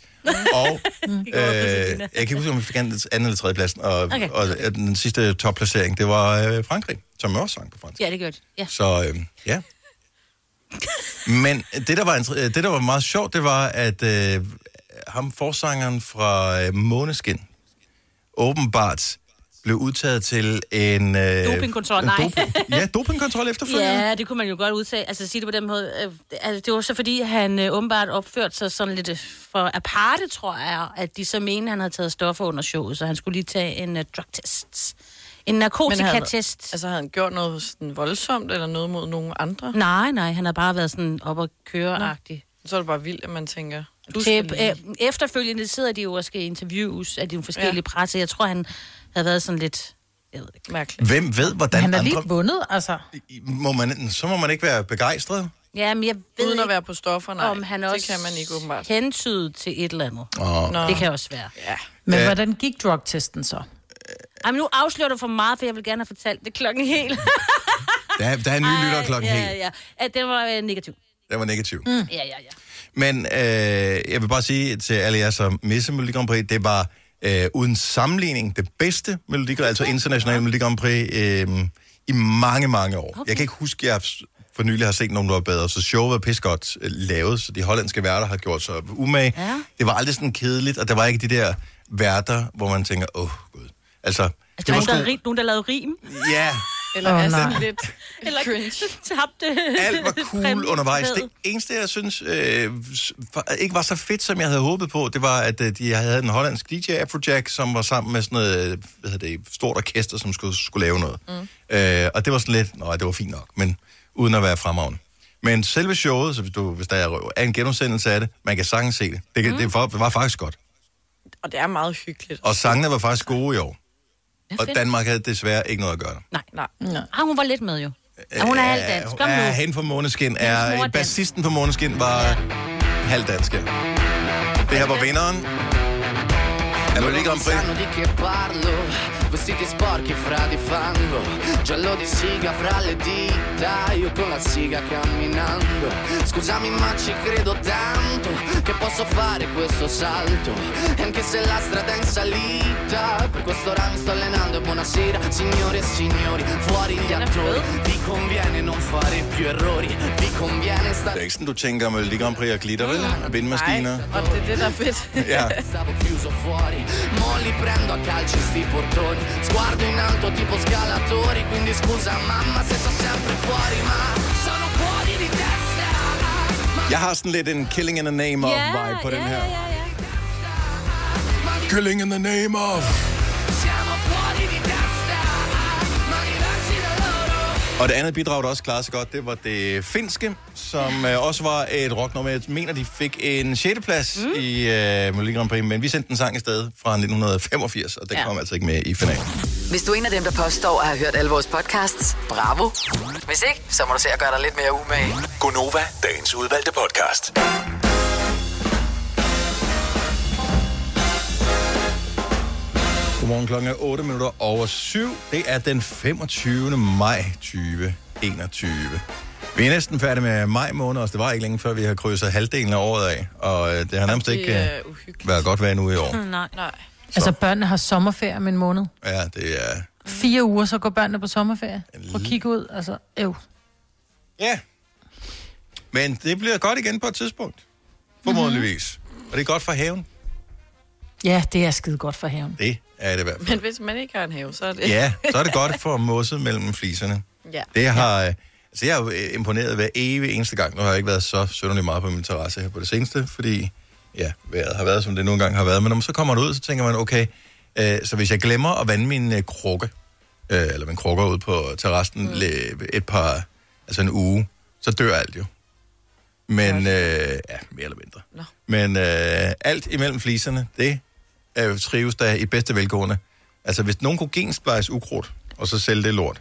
S1: Og øh, jeg kan ikke huske, om vi fik anden anden eller tredje pladsen, og,
S2: Okay.
S1: okay. og øh, den sidste topplacering, det var øh, Frankrig, som også sang på fransk.
S2: Ja, det gør det. Ja.
S1: Så øh, ja. Men det der, var, inter- øh, det, der var meget sjovt, det var, at øh, ham forsangeren fra øh, Måneskin åbenbart blev udtaget til en... Øh,
S2: Dopingkontrol,
S1: en
S2: nej.
S1: ja, dopingkontrol efterfølgende.
S2: Ja, det kunne man jo godt udtale. Altså, sige det på den måde. Øh, det- Altså, det var så, fordi han øh, åbenbart opførte sig sådan lidt øh, for aparte, tror jeg, at de så mente, han havde taget stoffer under showet, så han skulle lige tage en uh, drugtest. En narkotikatest.
S4: Altså, havde han gjort noget sådan voldsomt, eller noget mod nogen andre?
S2: Nej, nej, han har bare været sådan op og køre
S4: Så er det bare vildt, at man tænker...
S2: Tæp, øh, efterfølgende sidder de jo og skal interviews af de forskellige
S4: Ja.
S2: ja. presser. Jeg tror, han havde været sådan lidt...
S4: Mærkeligt.
S1: Hvem ved, hvordan
S5: Han har
S1: andre...
S5: lige vundet, altså.
S1: Må man, så må man ikke være begejstret.
S2: Ja, men jeg ved
S4: Uden at
S2: ikke,
S4: være på stoffer, nej.
S2: om han
S4: Det
S2: også
S4: kan man ikke, åbenbart.
S2: hentyde til et eller andet.
S1: Åh. Nå.
S2: Det kan også være.
S4: Ja.
S5: Men
S1: Ja.
S5: hvordan gik drugtesten så?
S2: Ej, men nu afslører du for meget, for jeg vil gerne have fortalt det klokken helt.
S1: Der, er- der er en ny lytter klokken
S2: ja,
S1: helt.
S2: Ja, At den var øh, negativ.
S1: Den var negativ.
S2: Mm. Ja, ja, ja.
S1: Men øh, jeg vil bare sige til alle jer, som misser Melodi Grand Prix, det var øh, uden sammenligning det bedste Melodi Grand altså internationale Melodi Grand Prix, øh, i mange, mange år. Okay. Jeg kan ikke huske, at jeg for nylig har set nogen, der var bedre, så showet var pissegodt øh, lavet, så de hollandske værter har gjort sig umage. Ja. Det var aldrig sådan kedeligt, og der var ikke de der værter, hvor man tænker, åh, oh, gud. Altså,
S2: Altså, der var
S1: var
S2: nogen, der,
S1: sådan-
S2: havde rim- nogen, der lavede rim.
S1: Ja.
S4: Eller
S1: Åh,
S4: er sådan
S1: nej.
S4: lidt Eller cringe.
S2: tabte.
S1: Alt var cool undervejs. Det eneste, jeg synes øh, s- var- ikke var så fedt, som jeg havde håbet på, det var, at øh, de havde en hollandsk DJ, Afrojack, som var sammen med sådan noget, øh, hvad hedder det, stort orkester, som skulle, skulle lave noget. Mm. Øh, og det var sådan lidt, nej, det var fint nok, men uden at være fremragende. Men selve showet, så hvis, du, hvis der er, er en genudsendelse af det, man kan sagtens se det. Det, kan, mm. det var, var faktisk godt.
S4: Og det er meget hyggeligt.
S1: Og sangene var faktisk gode i år. Og Danmark havde desværre ikke noget at gøre.
S2: Nej, nej. nej. Ah, hun var lidt med jo. Ja, hun er halv dansk. Kom
S1: Ja,
S2: nu.
S1: hende fra Måneskin
S2: Hendes mor
S1: er...
S2: er
S1: Bassisten fra Måneskin var halvdansk, ja. Det her var vinderen. Er du lige Grand Prix?
S14: sanno di che parlo Vestiti sporchi fra di fango Giallo di siga fra le dita Io con la siga camminando Scusami ma ci credo tanto Che posso fare questo salto E anche se la strada è in salita Per questo ramo sto allenando E buonasera signore e signori Fuori gli attori Vi conviene non fare più errori Vi conviene
S1: Det
S14: stare
S1: er ikke sådan, du tænker med Melodi Grand Prix og glitter, vel?
S14: Mm,
S1: Vindmaskiner.
S4: Og det er det, der er fedt.
S1: Ja.
S14: Stavo chiuso fuori, mo li prendo a calci sti portoni Sguardo in alto tipo scalatori, quindi scusa mamma se sono sempre fuori Ma sono fuori di testa
S1: Jeg har sådan lidt en killing in the name of
S14: Ja,
S1: vibe på den her. Killing in the name of.
S14: Siamo fuori di testa, ma diversi da loro
S1: Og det andet bidrag, der også klarede sig godt, det var det finske, som øh, også var et rocknummer. Jeg mener, de fik en 6. plads mm. i øh, Melodi Grand Prix, men vi sendte en sang afsted fra 1985, og den ja. kom altså ikke med i finalen.
S7: Hvis du er en af dem, der påstår at have hørt alle vores podcasts, bravo. Hvis ikke, så må du se at gøre dig lidt mere umage.
S15: Gonova, dagens udvalgte podcast.
S1: Godmorgen klokken er 8 minutter over 7. Det er den 25. maj 2021. Vi er næsten færdige med maj måned, og det var ikke længe før, vi har krydset halvdelen af året af. Og øh, det har nærmest
S3: det
S1: ikke
S3: er
S1: øh, været godt vejr nu i
S2: Hmm,
S1: år.
S3: Nej.
S4: Nej.
S3: Altså, børnene har sommerferie om en måned.
S1: Ja, det er...
S2: Mm.
S3: Fire uger, så går børnene på sommerferie. Prøv at kigge ud, altså, øv.
S1: Ja. Men det bliver godt igen på et tidspunkt. Formodentligvis. Og det er godt for haven.
S3: Ja, det er skide godt for haven.
S1: Det er det i hvert fald.
S4: Men hvis man ikke har en have, så er det...
S1: Ja, så er det godt for mosset mellem fliserne.
S4: ja.
S1: Det har... øh, Altså, jeg er jo øh, imponeret hver evig eneste gang. Nu har jeg ikke været så sønderlig meget på min terrasse her på det seneste, fordi ja, vejret har været, som det nogle gange har været. Men når man så kommer det ud, så tænker man, okay, øh, så hvis jeg glemmer at vande min øh, krukke, øh, eller min krukker ud på terrassen mm. et par, altså en uge, så dør alt jo. Men, øh, ja, mere eller mindre.
S4: Nå.
S1: Men øh, alt imellem fliserne, det er jo trives der i bedste velgående. Altså, hvis nogen kunne gensplejse ukrudt, og så sælge det lort,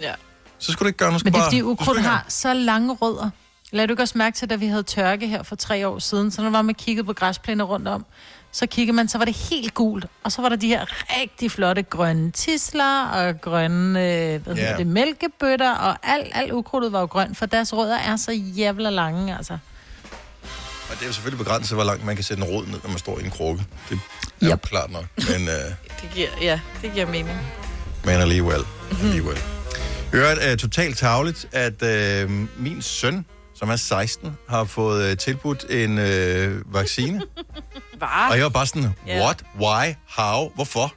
S4: Ja.
S1: så skulle du ikke gøre noget.
S3: Men det er
S1: bare-
S3: fordi,
S1: du skulle
S3: ukrudt
S1: ikke
S3: har så lange rødder. Lad du ikke også mærke til, da vi havde tørke her for tre år siden, så når man var kigget på græsplæner rundt om, så kiggede man, så var det helt gult, og så var der de her rigtig flotte grønne tisler og grønne øh, hvad
S1: Ja.
S3: yeah. det, mælkebøtter, og alt al ukrudtet var jo grønt, for deres rødder er så jævla lange, altså.
S1: Og det er jo selvfølgelig begrænset, hvor langt man kan sætte en rod ned, når man står i en krukke. Det er yep. klart nok, men, øh,
S4: Det giver, ja, det giver mening.
S1: men alligevel. alligevel. Hørt er totalt tavligt, at øh, min søn, som er 16, har fået øh, tilbudt en øh, vaccine.
S4: Var?
S1: Og jeg var bare sådan,
S2: Ah. Ja.
S1: what, why, how, hvorfor?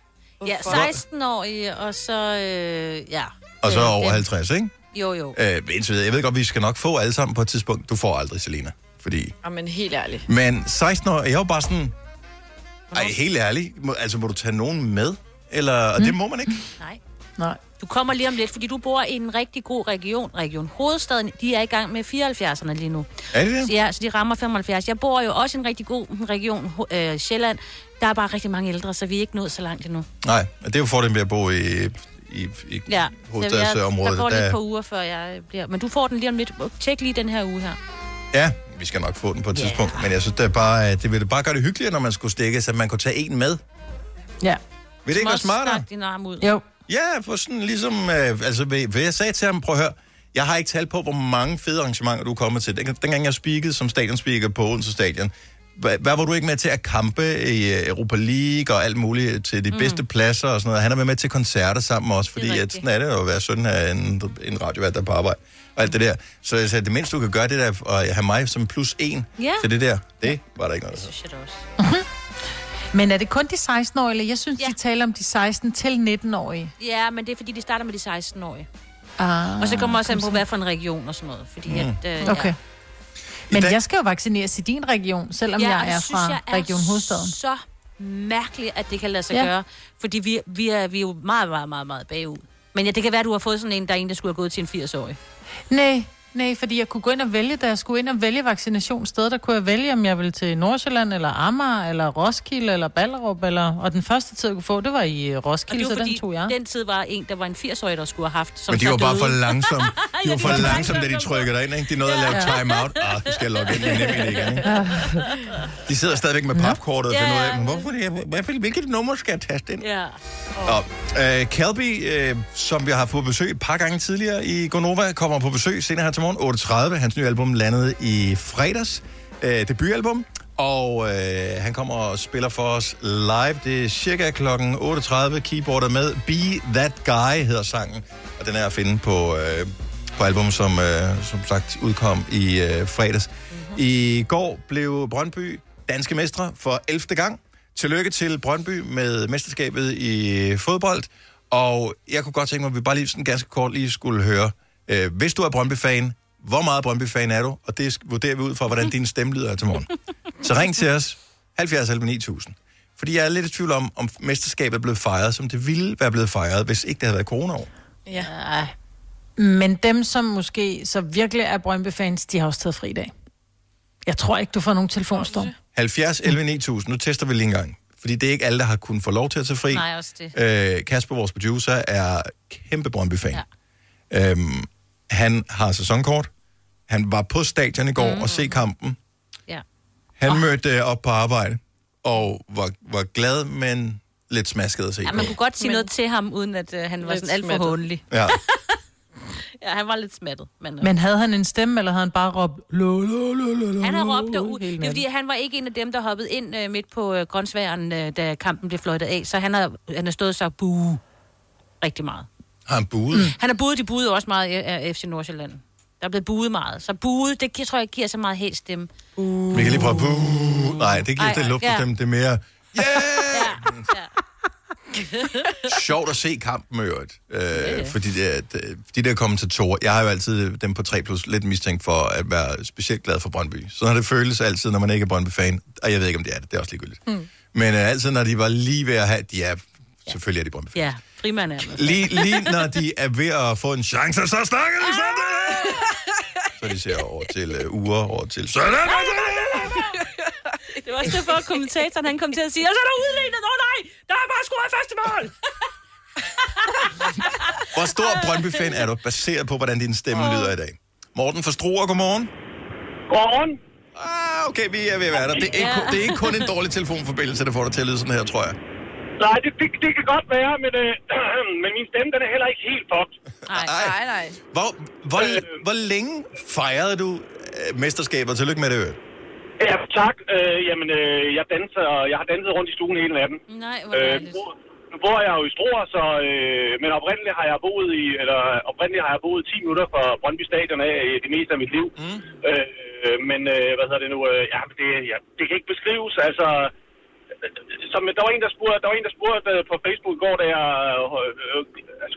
S2: Ja, 16 år i, og så... Øh, ja.
S1: Og så
S2: Øh,
S1: over
S2: den-
S1: 50, ikke?
S2: Jo, jo.
S1: Øh, indtil videre. jeg ved godt, vi skal nok få alle sammen på et tidspunkt. Du får aldrig, Selina. Fordi...
S4: Jamen, helt ærligt.
S1: Men 16 år, jeg var bare sådan... Ej, helt ærligt. Må, altså, må du tage nogen med? Eller... Og det
S2: Mm.
S1: må man ikke.
S2: Nej.
S3: Nej.
S2: Du kommer lige om lidt, fordi du bor i en rigtig god region. Region Hovedstaden, de er i gang med 74'erne lige nu.
S1: Er de det?
S2: Ja, så de rammer 75. Jeg bor jo også i en rigtig god region, ho- øh, Sjælland. Der er bare rigtig mange ældre, så vi er ikke nået så langt endnu.
S1: Nej, og det er jo fordelen ved at bo i, i, i
S2: Ja,
S1: hovedstadsområdet.
S2: der går lige
S1: Der-
S2: et par uger, før jeg bliver... Men du får den lige om lidt. Tjek lige den her uge her.
S1: Ja, vi skal nok få den på et tidspunkt. Men jeg synes, det, er bare, det ville bare gøre det hyggeligere, når man skulle stikke, så man kunne tage en med.
S3: Ja.
S1: Vil det ikke være smartere?
S2: din arm ud.
S3: Jo.
S1: Ja, for sådan ligesom... Øh, altså, hvad hvad jeg sagde til ham, prøv at høre, jeg har ikke tal på, hvor mange fede arrangementer du er kommet til. Den, dengang jeg speakede som stadionspeaker på Odense Stadion, hvad, hvad var du ikke med til at kampe i øh, Europa League og alt muligt til de
S16: Mm.
S1: mm. bedste pladser og sådan noget? Han har været med til koncerter sammen også,
S16: Det er
S1: fordi at,
S16: rigtigt.
S1: sådan er det jo at være søn af en, en radiovært, der er på arbejde og alt det der. Så jeg sagde, det mindste du kan gøre, det der at øh, have mig som plus en
S3: Ja.
S1: til det der. Det var der ikke noget. Det synes
S2: jeg da også.
S3: Men er det kun de 16-årige? Jeg synes, ja. de taler om de 16-19-årige.
S2: Ja, men det er, fordi de starter med de 16-årige.
S3: Ah,
S2: Og så kommer også an
S3: kom
S2: på, hvad for en region og sådan noget. Fordi
S3: Mm.
S2: mm. at, øh,
S3: Okay.
S2: ja.
S3: Men jeg skal jo vaccineres i din region, selvom
S2: Ja,
S3: ja,
S2: og
S3: jeg
S2: det
S3: er
S2: synes
S3: fra
S2: jeg er
S3: Region Hovedstaden.
S2: så mærkeligt, at det kan lade sig
S3: Ja.
S2: ja. gøre. Fordi vi, vi, er, vi er jo meget, meget, meget, meget bagud. Men ja, det kan være, at du har fået sådan en, der er en, der skulle have gået til en 80-årig.
S3: Nej, Nej, fordi jeg kunne gå ind og vælge, da jeg skulle ind og vælge vaccinationssted, der kunne jeg vælge, om jeg ville til Nordsjælland, eller Amager, eller Roskilde, eller Ballerup, eller... Og den første tid, jeg kunne få, det var i øh,
S2: Og
S3: Roskilde,
S2: det
S3: så
S2: var
S3: den
S2: fordi,
S3: tog jeg.
S2: den tid var en, der var en 80-årig, der skulle have haft. Som
S1: Men de
S2: så
S1: var bare
S2: døde.
S1: for langsomme. De
S2: Ja,
S1: var for
S2: var
S1: langsomme, da de trykkede dig ind. Ikke? De nåede at lave
S2: Ja.
S1: timeout. Ah, nu skal jeg logge ind i nemlig igen. Ikke? De sidder stadigvæk med papkortet og finder ud af, men hvorfor det, her- hvorfor- hvilket nummer skal jeg taste ind?
S2: Ja.
S1: Nå, øh, Calby, øh, som vi har haft på besøg et par gange tidligere i Gonova, kommer på besøg senere her til morgen. 8.30. Hans nye album landede i fredags. Øh, debutalbum. Og øh, han kommer og spiller for os live. Det er cirka klokken 8.30. Keyboardet med. Be That Guy hedder sangen. Og den er at finde på, øh, på album, som øh, som sagt udkom i øh, fredags. I går blev Brøndby danske mestre for 11. gang. Tillykke til Brøndby med mesterskabet i fodbold. Og jeg kunne godt tænke mig, at vi bare lige sådan ganske kort lige skulle høre, øh, hvis du er Brøndby-fan, hvor meget Brøndby-fan er du? Og det sk- vurderer vi ud fra, hvordan din stemme lyder til morgen. Så ring til os, 70 11 9000. Fordi jeg er lidt i tvivl om, om mesterskabet er blevet fejret, som det ville være blevet fejret, hvis ikke det havde været coronaår.
S3: Ja. Men dem, som måske så virkelig er Brøndby-fans, de har også taget fri i dag. Jeg tror ikke, du får nogen telefonstorm.
S1: 70 11 9000, nu tester vi lige en gang. Fordi det er ikke alle, der har kunnet få lov til at tage fri.
S2: Nej, også det.
S1: Øh, Kasper, vores producer, er kæmpe Brøndby-fan. Ja. Øhm, han har sæsonkort. Han var på stadion i går mm. og se kampen.
S2: Ja.
S1: Han oh. mødte øh, op på arbejde og var, var glad, men lidt smasket at se.
S2: ja,
S1: på.
S2: man kunne godt sige men... noget til ham, uden at øh, han var
S3: Lidt
S2: sådan alt for
S3: smattet.
S2: håndelig.
S1: Ja.
S2: Ja, han var lidt smattet. Men, øh,
S3: Men havde han en stemme, eller havde han bare råbt... Lo, lo, lo, lo, lo,
S2: Han har råbt
S3: lo,
S2: derud.
S3: hele
S2: Det er
S3: natten?
S2: fordi, han var ikke en af dem, der hoppede ind øh, midt på øh, grøntsværen, øh, da kampen blev fløjtet af. Så han har, han har stået så bue rigtig meget.
S1: Har han buet? Mm.
S2: Han har buet, de buede også meget af- af FC Nordsjælland. Der er blevet buet meget. Så buet, det gi- tror jeg ikke giver så meget helt stemme.
S1: Vi kan lige prøve buh. Nej, det giver
S2: Ej,
S1: det
S2: ej,
S1: luft
S2: ja.
S1: ja. dem. Det er mere
S2: ja.
S1: sjovt at se kampen i øvrigt. Øh, Fordi det, det, de der kommentatorer, jeg har jo altid dem på 3 plus lidt mistænkt for at være specielt glad for Brøndby. Sådan har det føles altid, når man ikke er Brøndby-fan. Og jeg ved ikke, om det er det. Det er også ligegyldigt.
S2: Hmm.
S1: Mm. Men øh, altid, når de var lige ved at have... De er, selvfølgelig er de Brøndby.
S2: ja, frimand er med.
S1: Lige, lige når de er ved at få en chance, så snakker
S2: Ah!
S1: de sådan der! Så de ser over til øh, uger, over til sådan.
S2: Det var også derfor, at kommentatoren han kom til at sige, og så er der udlignet, åh nej, der er bare scoret første mål.
S1: Hvor stor Brøndby-fan er du, baseret på, hvordan din stemme lyder i dag? Morten fra Struer, godmorgen. Godmorgen. Ah, okay, vi er ved at være der. Det er, ikke,
S16: Ja.
S1: det er ikke kun en dårlig telefonforbindelse, der får dig til at lyde sådan her, tror jeg.
S16: Nej, det, det, det kan godt være, men, øh, men min stemme, den er heller ikke helt fucked.
S2: Nej,
S4: nej, nej.
S1: Hvor, hvor, hvor længe fejrede du øh, mesterskabet? Tillykke med det, øvrigt.
S16: Ja, tak. Øh, jamen, øh, jeg danser, og jeg har danset rundt i stuen hele natten.
S2: Nej,
S16: hvor øh, nu bor- Nu bor jeg jo i Struer, så, øh, men oprindeligt har jeg boet i, eller oprindeligt har jeg boet 10 minutter fra Brøndby Stadion af øh, det meste af mit liv. Mm. Øh, øh, men øh, hvad hedder det nu? Øh, ja, men det, ja, det kan ikke beskrives. Altså, øh, som, der var en, der spurgte, der var en, der spurgte øh, på Facebook i går, da jeg øh, øh,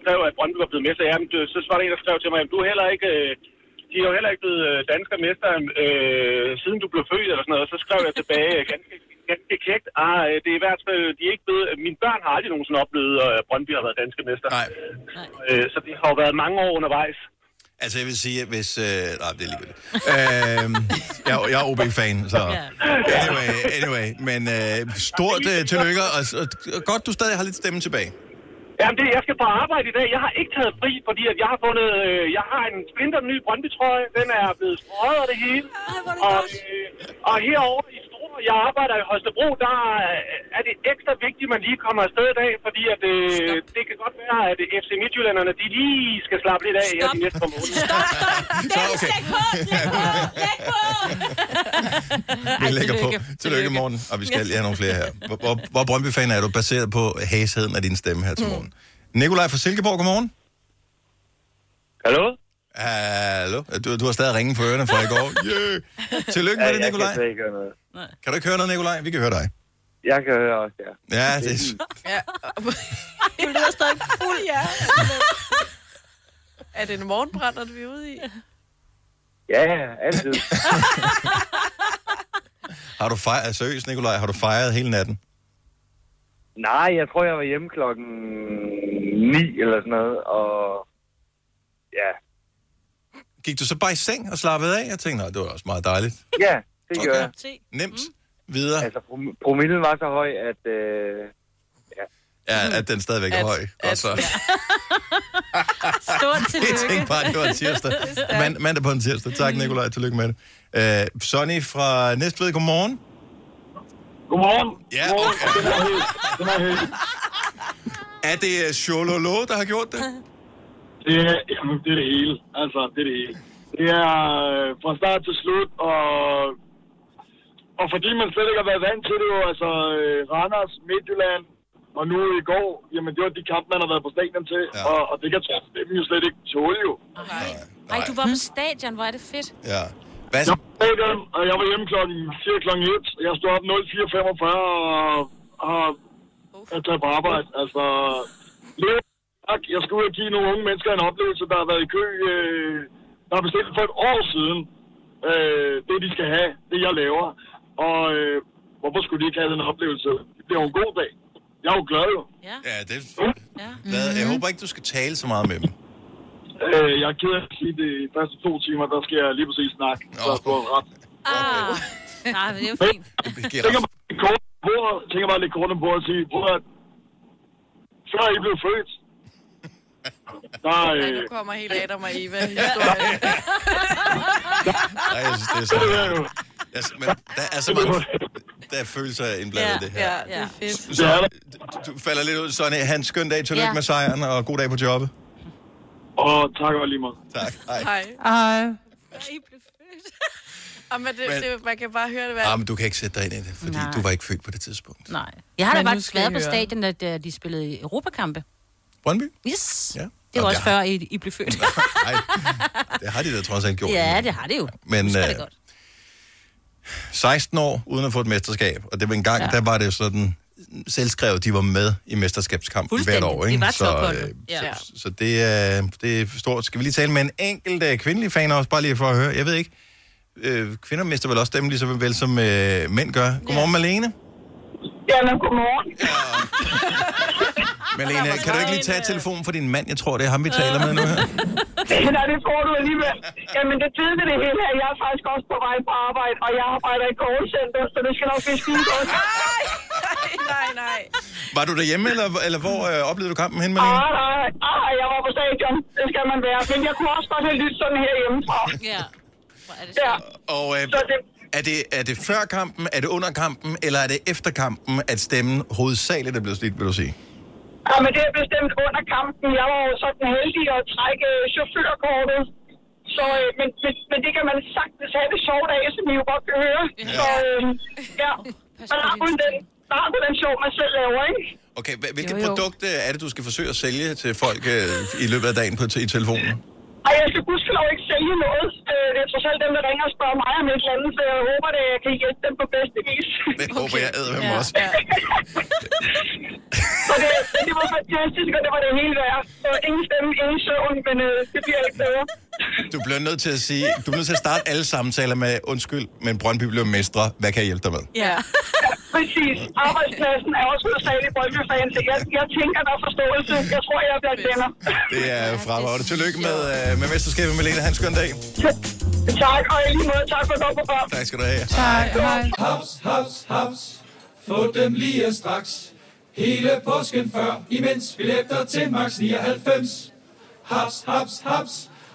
S16: skrev, at Brøndby var blevet mester. Jamen, du, så var der en, der skrev til mig, at du er heller ikke... Øh, de er jo heller ikke blevet øh, dansker mester, øh, siden du blev født eller sådan noget. Så skrev jeg tilbage, øh, ganske, ganske kægt, ah, øh, det er i hvert fald, de er ikke blevet, mine børn har aldrig nogensinde oplevet, øh, at Brøndby har været danske mester.
S1: Nej.
S16: Øh, så det har jo været mange år undervejs.
S1: Altså, jeg vil sige, at hvis... Øh, nej, det er ligegyldigt. øh, jeg, jeg er OB-fan, så... Anyway, anyway. Men øh, stort øh, tillykke, og, og, og godt, du stadig har lidt stemme tilbage.
S16: Jamen, det, jeg skal på arbejde i dag. Jeg har ikke taget fri, fordi at jeg har fundet... Øh, jeg har en splinter ny Brøndby-trøje. Den er blevet strøget og det hele. og, øh, og herovre i Struer, jeg arbejder i Holstebro, der er- er det ekstra vigtigt, at man lige kommer afsted i dag, fordi at, øh, det kan godt være, at øh, FC Midtjyllanderne, de lige skal slappe lidt af her de næste par måneder. Stop, stop!
S1: Så, okay. Vi lægger på.
S16: tillykke.
S1: Tillykke, morgen. Og vi skal lige have nogle flere her. Hvor, hvor, hvor Brøndby-fan er du, baseret på hæsheden af din stemme her til
S6: Mm.
S1: morgen? Nikolaj fra Silkeborg, godmorgen.
S16: Hallo?
S1: Hallo. Du, du har stadig ringen for ørerne fra i går. Yeah. Tillykke med
S17: Ja,
S1: det,
S17: jeg
S1: Nikolaj.
S17: kan slet ikke høre noget.
S1: Kan du ikke høre noget, Nikolaj? Vi kan høre dig.
S17: Jeg kan høre også, ja.
S1: Ja, det er...
S4: Ja. Du lyder stadig fuld, ja. Er det en morgenbrænder, vi er ude i?
S17: Ja, altid.
S1: Har du fejret... altså, Seriøst, Nikolaj, har du fejret hele natten?
S17: Nej, jeg tror, jeg var hjemme klokken 9 eller sådan noget, og ja,
S1: Gik du så bare i seng og slappede af? Jeg tænkte, nej, det var også meget dejligt.
S17: Ja, det gør jeg.
S1: Nemt. Videre.
S17: Altså, prom- promillen var så høj, at... Øh, ja.
S1: Ja, at den stadigvæk er
S17: At-
S1: høj. Godt så.
S2: Stort
S1: Jeg
S2: tillykke.
S1: tænkte bare, at det var en tirsdag.
S2: Det er stærkt.
S1: Mand, mandag på en tirsdag. Tak, Nikolaj. Tillykke med det. Uh, Sonny fra Næstved, godmorgen.
S18: Godmorgen.
S1: Ja.
S18: Godmorgen. Det var helt. Det var helt.
S1: Er det øh, Chololo, der har gjort det?
S18: Det er, jamen, det er det hele. Altså, det er det hele. Det er øh, fra start til slut, og, og fordi man slet ikke har været vant til det, jo, altså øh, Randers, Midtjylland, og nu i går, jamen det var de kampe, man har været på stadion til, ja. og, og det kan dem jo slet ikke tåle jo.
S2: Ej, du var på stadion, hvor er det fedt.
S1: Ja. Hvad
S18: Jeg var på stadion, og jeg var hjemme klokken 4 klokken 1, og jeg stod op 04.45 og har jeg taget på arbejde. Altså, lever- tak. Jeg skulle ud og give nogle unge mennesker en oplevelse, der har været i kø, øh, der har bestilt for et år siden, øh, det de skal have, det jeg laver. Og øh, hvorfor skulle de ikke have den oplevelse? Det bliver jo en god dag. Jeg er jo glad jo.
S1: Ja, Mhm. det er glad. Jeg håber ikke, du skal tale så meget med dem.
S18: Øh, jeg er ked af at sige, de første to timer, der skal jeg lige præcis snakke. Så jeg får ret.
S2: Ah, nej, men det er jo fint.
S18: Jeg tænker bare lidt kort om bordet, tænker bare lidt kort om bordet og sige, prøv at før I blev født, der,
S4: Ej,
S18: øh,
S4: nu kommer helt Adam og Eva. historie.
S1: Nej, jeg synes, det er så... Jeg, men der er så mange... Der er følelser indblandet i det her.
S4: ja, det er fedt.
S1: Så, øh, du falder lidt ud, Sonny. Han, skøn dag. Tillykke
S4: Ja.
S1: med sejren, og god dag på jobbet.
S18: Og tak og lige meget.
S1: Tak. Hej.
S4: Hej.
S3: Ej.
S4: I blev født. Jamen, det,
S1: Men-
S4: det, man kan bare høre det
S1: Ah,
S4: være.
S1: men du kan ikke sætte dig ind i det, fordi
S2: Nej.
S1: Nej. du var ikke født på det tidspunkt.
S2: Nej. Jeg har
S1: Men
S2: da
S1: nu
S2: faktisk
S1: skal I
S2: været på
S1: høre.
S2: stadion, at øh, de spillede i europakampe.
S1: Brøndby?
S2: Yes.
S1: Ja.
S2: Det var
S1: Og
S2: også
S1: det
S2: før, I, I blev født.
S1: Det har de da trods alt gjort.
S2: ja, det har det jo.
S1: Men,
S2: Husker det
S1: øh,
S2: godt.
S1: 16 år uden at få et mesterskab, og det var en gang, ja. der var det jo sådan selvskrevet, de var med i mesterskabskampen hvert år. Ikke?
S2: Det var
S1: så,
S2: topholdet.
S1: øh,
S2: Ja.
S1: så det, er, det er stort. Skal vi lige tale med en enkelt øh, kvindelig fan også, bare lige for at høre. Jeg ved ikke, øh, kvinder mister vel også stemme lige så vel som øh, mænd gør. Godmorgen, Malene.
S6: Jamen, godmorgen.
S1: Malene, kan du ikke lige tage telefonen for din mand? Jeg tror, det er ham, vi taler med nu her.
S6: Nej, det tror du alligevel. Jamen, det tyder det hele her. Jeg er faktisk også på vej på arbejde, og jeg arbejder i callcenter, så det skal nok blive skide godt.
S4: Nej, nej.
S1: Var du derhjemme, eller, eller hvor øh, oplevede du kampen hen, Malene?
S6: Ah, nej, ah, jeg var på stadion. Det skal man være. Men jeg kunne også godt have lyttet sådan her hjemmefra.
S2: Ja.
S6: Ja.
S1: Og øh, er, det, er det før kampen, er det under kampen, eller er det efter kampen, at stemmen hovedsageligt er blevet slidt, vil du sige?
S6: Ja, men det er bestemt under kampen. Jeg var jo sådan heldig at trække øh, chaufførkortet. Så, øh, men, men, men, det kan man sagtens have det sjovt af, som I jo godt kan høre. Så øh, ja, man har kun den, man har kun den sjov, man selv laver, ikke?
S1: Okay, hva- hvilket
S6: Jo, jo.
S1: produkt øh, er det, du skal forsøge at sælge til folk øh, i løbet af dagen på t- i telefonen?
S6: Ej, jeg skal gudskelov ikke sælge noget. Øh, det er trods alt dem, der ringer og spørger mig om et eller andet, så jeg håber, at jeg kan hjælpe dem på bedste vis.
S1: Det håber jeg æder
S6: Ja,
S1: ja, også.
S6: ja. så det, det var fantastisk, og det var det hele værd. Og ingen stemme, ingen søvn, men øh, det bliver ikke bedre.
S1: Du bliver nødt til at sige, du bliver nødt til at starte alle samtaler med, undskyld, men Brøndby blev mestre. Hvad kan jeg hjælpe dig med?
S6: Ja. Præcis. Arbejdspladsen er også hovedsageligt Brøndby-fans. Jeg, jeg tænker, der er forståelse. Jeg tror, jeg er blandt venner.
S1: Det er fremragende. Tillykke med, øh, med mesterskabet, Malene. Han skøn dag.
S6: tak, og i lige måde, tak for et godt program.
S1: Tak skal du have.
S8: Tak, hej. Haps, haps, haps. Få dem lige straks. Hele påsken før, imens billetter til max 99. Haps, haps, haps.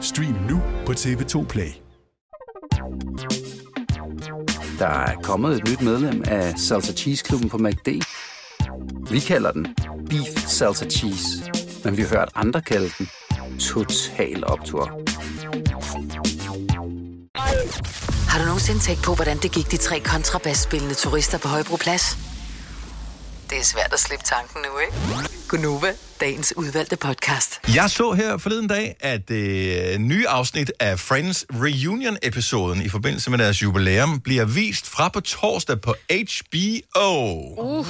S15: Stream nu på TV2 Play.
S19: Der er kommet et nyt medlem af Salsa Cheese Klubben på MACD. Vi kalder den Beef Salsa Cheese, men vi har hørt andre kalde den Total Optor.
S7: Har du nogensinde tænkt på, hvordan det gik de tre kontrabasspillende turister på Højbroplads? Det er svært at slippe tanken nu, ikke? Gunova, dagens udvalgte podcast.
S1: Jeg så her forleden dag, at det øh, nye afsnit af Friends Reunion-episoden i forbindelse med deres jubilæum bliver vist fra på torsdag på HBO.
S2: Uh.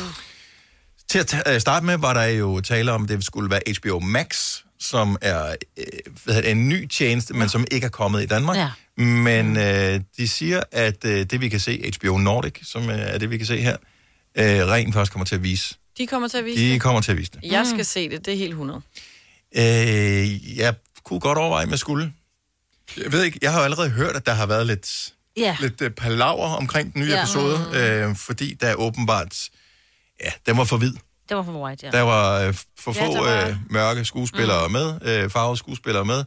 S1: Til at ta- øh, starte med var der jo tale om, at det skulle være HBO Max, som er øh, hvad hedder det, en ny tjeneste, men som ikke er kommet i Danmark. Ja. Men øh, de siger, at øh, det vi kan se, HBO Nordic, som øh, er det vi kan se her, øh, rent faktisk kommer til at vise.
S4: De kommer til at vise
S1: De
S4: det.
S1: kommer til at vise det.
S4: Jeg skal se det, det er helt 100.
S1: Øh, jeg kunne godt overveje, om jeg skulle. Jeg ved ikke, jeg har jo allerede hørt, at der har været lidt,
S2: Ja.
S1: lidt øh, palaver omkring den nye
S2: Ja. Mm.
S1: ja. episode, øh, fordi der er åbenbart, ja, den var for vid.
S2: Det var for white, ja.
S1: Der var øh, for
S2: Ja, der
S1: få
S2: var-
S1: øh, mørke skuespillere mm. med, øh, farvede skuespillere med.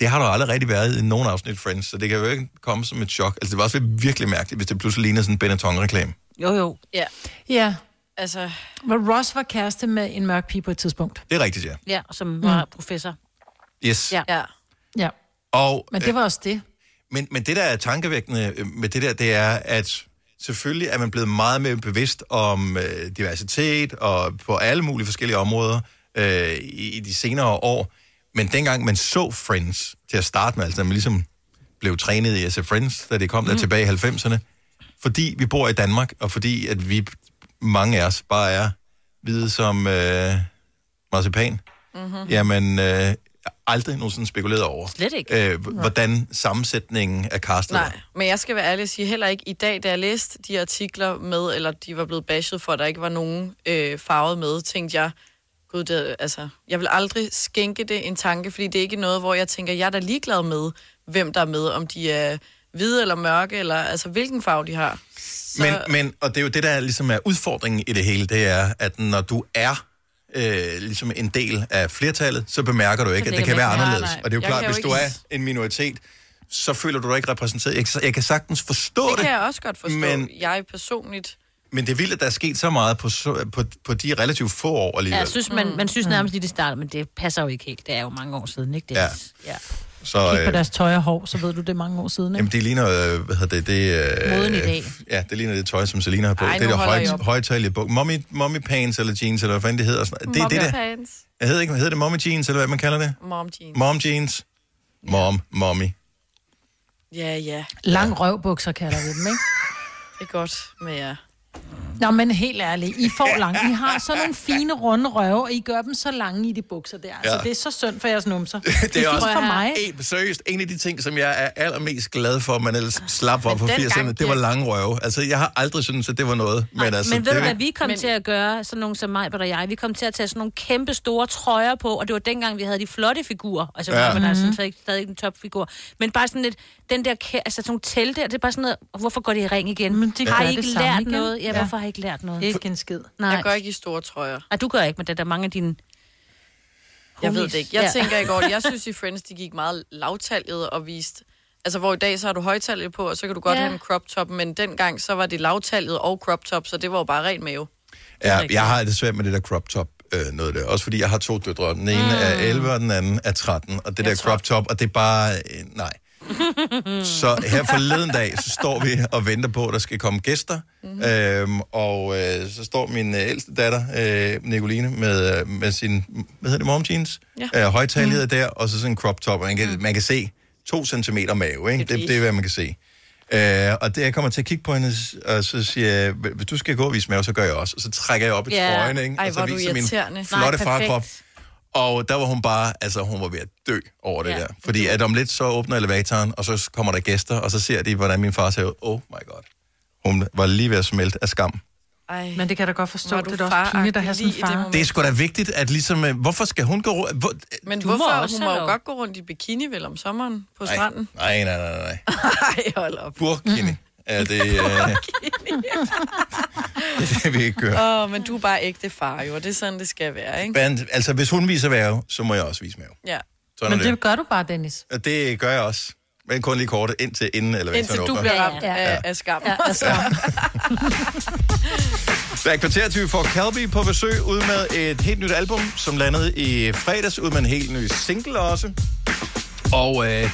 S1: Det har der jo aldrig rigtig været i nogen afsnit Friends, så det kan jo ikke komme som et chok. Altså, det var også virkelig mærkeligt, hvis det pludselig ligner sådan en Benetton-reklame.
S2: Jo, jo.
S4: Ja.
S3: Ja.
S4: Altså...
S3: Hvor Ross var kæreste med en mørk pige på et tidspunkt.
S1: Det er rigtigt, ja.
S2: Ja, som var mm. professor.
S1: Yes.
S2: Ja. ja.
S3: Ja.
S1: Og,
S3: Men det var også det.
S1: Men, men det, der er tankevækkende øh, med det der, det er, at selvfølgelig er man blevet meget mere bevidst om øh, diversitet og på alle mulige forskellige områder øh, i, i de senere år. Men dengang man så Friends til at starte med, altså da man ligesom blev trænet i at se Friends, da det kom mm. der tilbage i 90'erne, fordi vi bor i Danmark, og fordi at vi, mange af os, bare er hvide som øh, marcipan,
S6: Mhm.
S2: Mm-hmm.
S1: jamen øh, aldrig nogensinde spekuleret over.
S4: Slet ikke.
S1: Øh, h- hvordan sammensætningen af castet var.
S4: Nej, men jeg skal være ærlig og sige, heller ikke i dag, da jeg læste de artikler med, eller de var blevet bashed for, at der ikke var nogen øh, farvet med, tænkte jeg, gud, det, er- altså, jeg vil aldrig skænke det en tanke, fordi det er ikke noget, hvor jeg tænker, jeg er da ligeglad med, hvem der er med, om de er hvide eller mørke, eller altså hvilken farve de har. Så,
S1: Men, men, og det er jo det, der ligesom er udfordringen i det hele, det er, at når du er øh, ligesom en del af flertallet, så bemærker du ikke, at det
S2: lægger man
S1: kan være
S2: ikke- nej,
S1: anderledes.
S2: nej.
S1: Og det er jo
S2: Jeg
S1: klart,
S2: kan jo
S1: hvis du
S2: ikke-
S1: er en minoritet, så føler du dig ikke repræsenteret. Jeg, kan- jeg kan sagtens forstå det.
S4: det kan jeg også godt forstå.
S1: Men,
S4: Men, jeg personligt...
S1: men det er vildt, at der er sket så meget på, så- på, på de relativt få år alligevel.
S2: Ja, jeg synes,
S3: Mm.
S2: man, man synes nærmest lige det startede, men det passer jo ikke helt. Det er jo mange år siden, ikke det?
S1: Ja.
S2: ja.
S1: Så,
S3: Kig på
S1: øh,
S3: deres tøj og hår, så ved du det er mange år siden, ikke?
S1: jamen, det ligner, øh, hvad hedder det, det... Øh,
S3: Moden i dag.
S1: Ja, det ligner det tøj, som Selina har på.
S3: Ej,
S1: det
S3: nu
S1: er det
S3: holder I
S1: høj,
S3: op.
S1: højtalige buk. Mommy, mommy pants eller jeans, eller hvad fanden det hedder. og Sådan. noget. Det, er det, der,
S4: Pants.
S1: jeg hedder ikke, hedder det mommy jeans, eller hvad man kalder det?
S4: Mom jeans.
S1: Mom jeans. Mom, mommy.
S4: Ja, ja.
S3: Lang røvbukser kalder vi dem, ikke?
S4: Det er godt med jer.
S3: Nå, men helt ærligt, I får lange. I har sådan nogle fine runde røve, og I gør dem så lange i de bukser der. Ja. Så
S1: Ja.
S3: det er så synd for jeres numser.
S1: Det er også
S3: for mig.
S1: En, seriøst, en af de ting, som jeg er allermest glad for, man ellers slap for på
S2: dengang,
S1: 80'erne, det var lange røve. Altså, jeg har aldrig syntes, at det var noget. Men, altså,
S2: men ved du,
S1: det,
S2: hvad vi kom men... til at gøre, sådan nogen som mig og jeg, vi kom til at tage sådan nogle kæmpe store trøjer på, og det var dengang, vi havde de flotte figurer, altså
S1: Ja.
S2: ja. man er
S1: Mhm.
S2: sådan, stadig, stadig en topfigur, men bare sådan lidt, den der, kæ- altså sådan nogle telte, det er bare sådan noget, hvorfor går det i ring igen? Men
S3: de
S2: har
S3: gør
S2: I
S3: det
S2: ikke
S3: samme
S2: lært
S3: igen.
S2: noget? Ja,
S3: Ja.
S2: ja, hvorfor har I ikke lært noget?
S3: Ikke en skid.
S2: Nej.
S4: Jeg går ikke i store trøjer.
S2: Ah, du gør ikke, men det er der mange af dine
S4: Jeg ved
S2: homies.
S4: det ikke. Jeg
S2: Ja.
S4: ja. tænker ikke over det. Jeg synes i Friends, de gik meget lavtallet og viste... Altså, hvor i dag, så har du højtallet på, og så kan du godt
S2: Ja.
S4: ja. have en crop top, men dengang, så var det lavtallet og crop top, så det var jo bare ren mave.
S1: ja, jeg har det svært med det der crop top øh, noget der. Også fordi jeg har to døtre. Den ene mm. er 11, og den anden er 13. Og det Mm. jeg der crop top, og det er bare... Øh, nej. Så her forleden dag, så står vi og venter på, at der skal komme gæster. Mm-hmm. Øhm, og øh, så står min øh, ældste datter, øh, Nicoline, med, øh, med sin, hvad hedder det, mom jeans?
S5: Ja.
S1: Øh, højtallighed der, og så sådan en crop top. Og man kan, mm. man kan se to centimeter mave, ikke? Det, det er, hvad man kan se. Øh, og det, jeg kommer til at kigge på hende, og så siger jeg, hvis du skal gå og vise mave, så gør jeg også. Og så trækker jeg op i
S4: Ja.
S1: trøjen, ikke?
S4: Ej,
S1: og
S4: hvor
S1: så
S4: er du irriterende.
S1: min
S4: Nej,
S1: flotte
S4: perfekt.
S1: farkrop. Og der var hun bare, altså hun var ved at dø over det
S4: Ja.
S1: ja. der. Fordi at om lidt så åbner elevatoren, og så kommer der gæster, og så ser de, hvordan min far ser ud. Oh my god. Hun var lige ved at smelte af skam.
S4: Ej.
S3: Men det kan jeg da godt forstå.
S4: Var
S3: Det er
S4: du
S3: da også pinligt at
S4: faragtig
S3: have sådan en
S4: lige i det
S3: far.
S4: moment?
S1: Det er sgu da vigtigt, at ligesom, øh, hvorfor skal hun gå rundt? Hvor,
S4: Men
S3: Du
S4: du
S3: må
S4: hvorfor?
S3: også
S4: Må hun må
S3: have
S4: jo
S3: lov.
S4: godt gå rundt i bikini, vel, om sommeren på
S1: nej,
S4: stranden.
S1: nej, nej, nej, nej.
S4: Ej, hold op.
S1: Burkini. Er det, øh, det, er det vi ikke gør.
S4: Åh, oh, men du er bare ægte far, jo, og det er sådan, det skal være, ikke?
S1: Men, altså, hvis hun viser værve, så må jeg også vise mave.
S4: Ja.
S1: Sådan
S3: Men
S1: er
S3: det gør du bare, Dennis.
S1: det. det gør jeg også. Men kun lige kort indtil inden eller
S4: Indtil du
S1: åbner.
S4: bliver ramt
S3: Ja.
S4: af, af skam.
S3: Ja, af skam.
S1: Hver kvarter 20 får Calbi på besøg ud med et helt nyt album, som landede i fredags, ud med en helt ny single også. Og øh,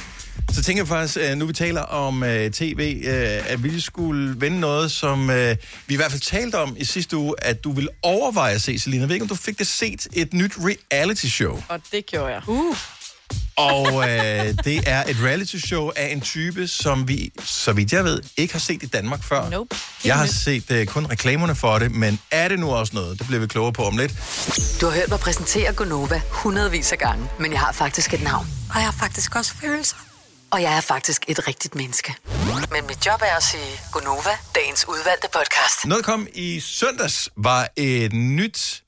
S1: Så tænker jeg faktisk, øh, nu vi taler om øh, tv, øh, at vi skulle vende noget, som øh, vi i hvert fald talte om i sidste uge, at du ville overveje at se, Selina. Jeg ved ikke, om du fik det set et nyt reality-show.
S4: Og det gjorde jeg. Uh.
S1: Og øh, det er et reality-show af en type, som vi, så vidt jeg ved, ikke har set i Danmark før.
S4: Nope.
S1: Jeg har set øh, kun reklamerne for det, men er det nu også noget? Det bliver vi klogere på om lidt.
S7: Du har hørt mig præsentere Gonova hundredvis af gange, men jeg har faktisk et navn.
S20: Og jeg har faktisk også følelser.
S7: Og jeg er faktisk et rigtigt menneske. Men mit job er at sige Gonova, dagens udvalgte podcast.
S1: Noget, der kom i søndags, var et nyt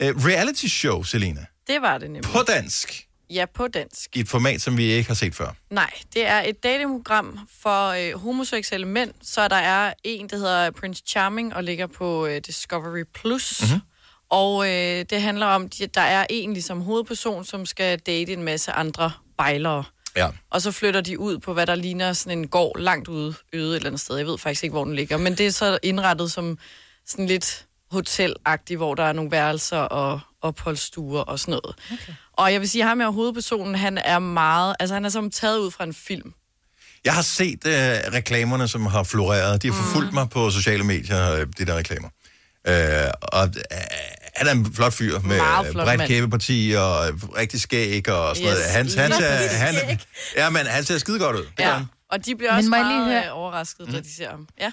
S1: øh, reality-show, Selina.
S4: Det var det nemlig.
S1: På dansk.
S4: Ja, på dansk.
S1: I et format, som vi ikke har set før.
S4: Nej, det er et datingprogram for øh, homoseksuelle mænd, så der er en, der hedder Prince Charming og ligger på øh, Discovery+. Plus. Mm-hmm. Og øh, det handler om, at der er en ligesom hovedperson, som skal date en masse andre bejlere.
S1: Ja.
S4: Og så flytter de ud på, hvad der ligner sådan en gård langt ude, øde et eller andet sted. Jeg ved faktisk ikke, hvor den ligger. Men det er så indrettet som sådan lidt hotelagtigt, hvor der er nogle værelser og opholdsstuer og sådan noget. Okay. Og jeg vil sige, at ham her hovedpersonen, han er meget... Altså, han er som taget ud fra en film.
S1: Jeg har set øh, reklamerne, som har floreret. De har forfulgt mig på sociale medier, øh, de der reklamer. Øh, og øh, han er en flot fyr med
S4: Meget
S1: øh,
S4: flot
S1: bredt
S4: mand.
S1: kæbeparti og øh, rigtig skæg og sådan yes, noget. Hans, han, ser,
S4: lige
S1: han,
S4: skæg.
S1: ja, men han ser skide godt ud. Det gør
S4: Ja.
S1: han.
S4: Og de bliver
S3: Men
S4: også
S3: må jeg lige
S4: meget
S3: høre-
S4: øh, overrasket, mm. da
S1: Mm.
S4: de ser ham. Ja.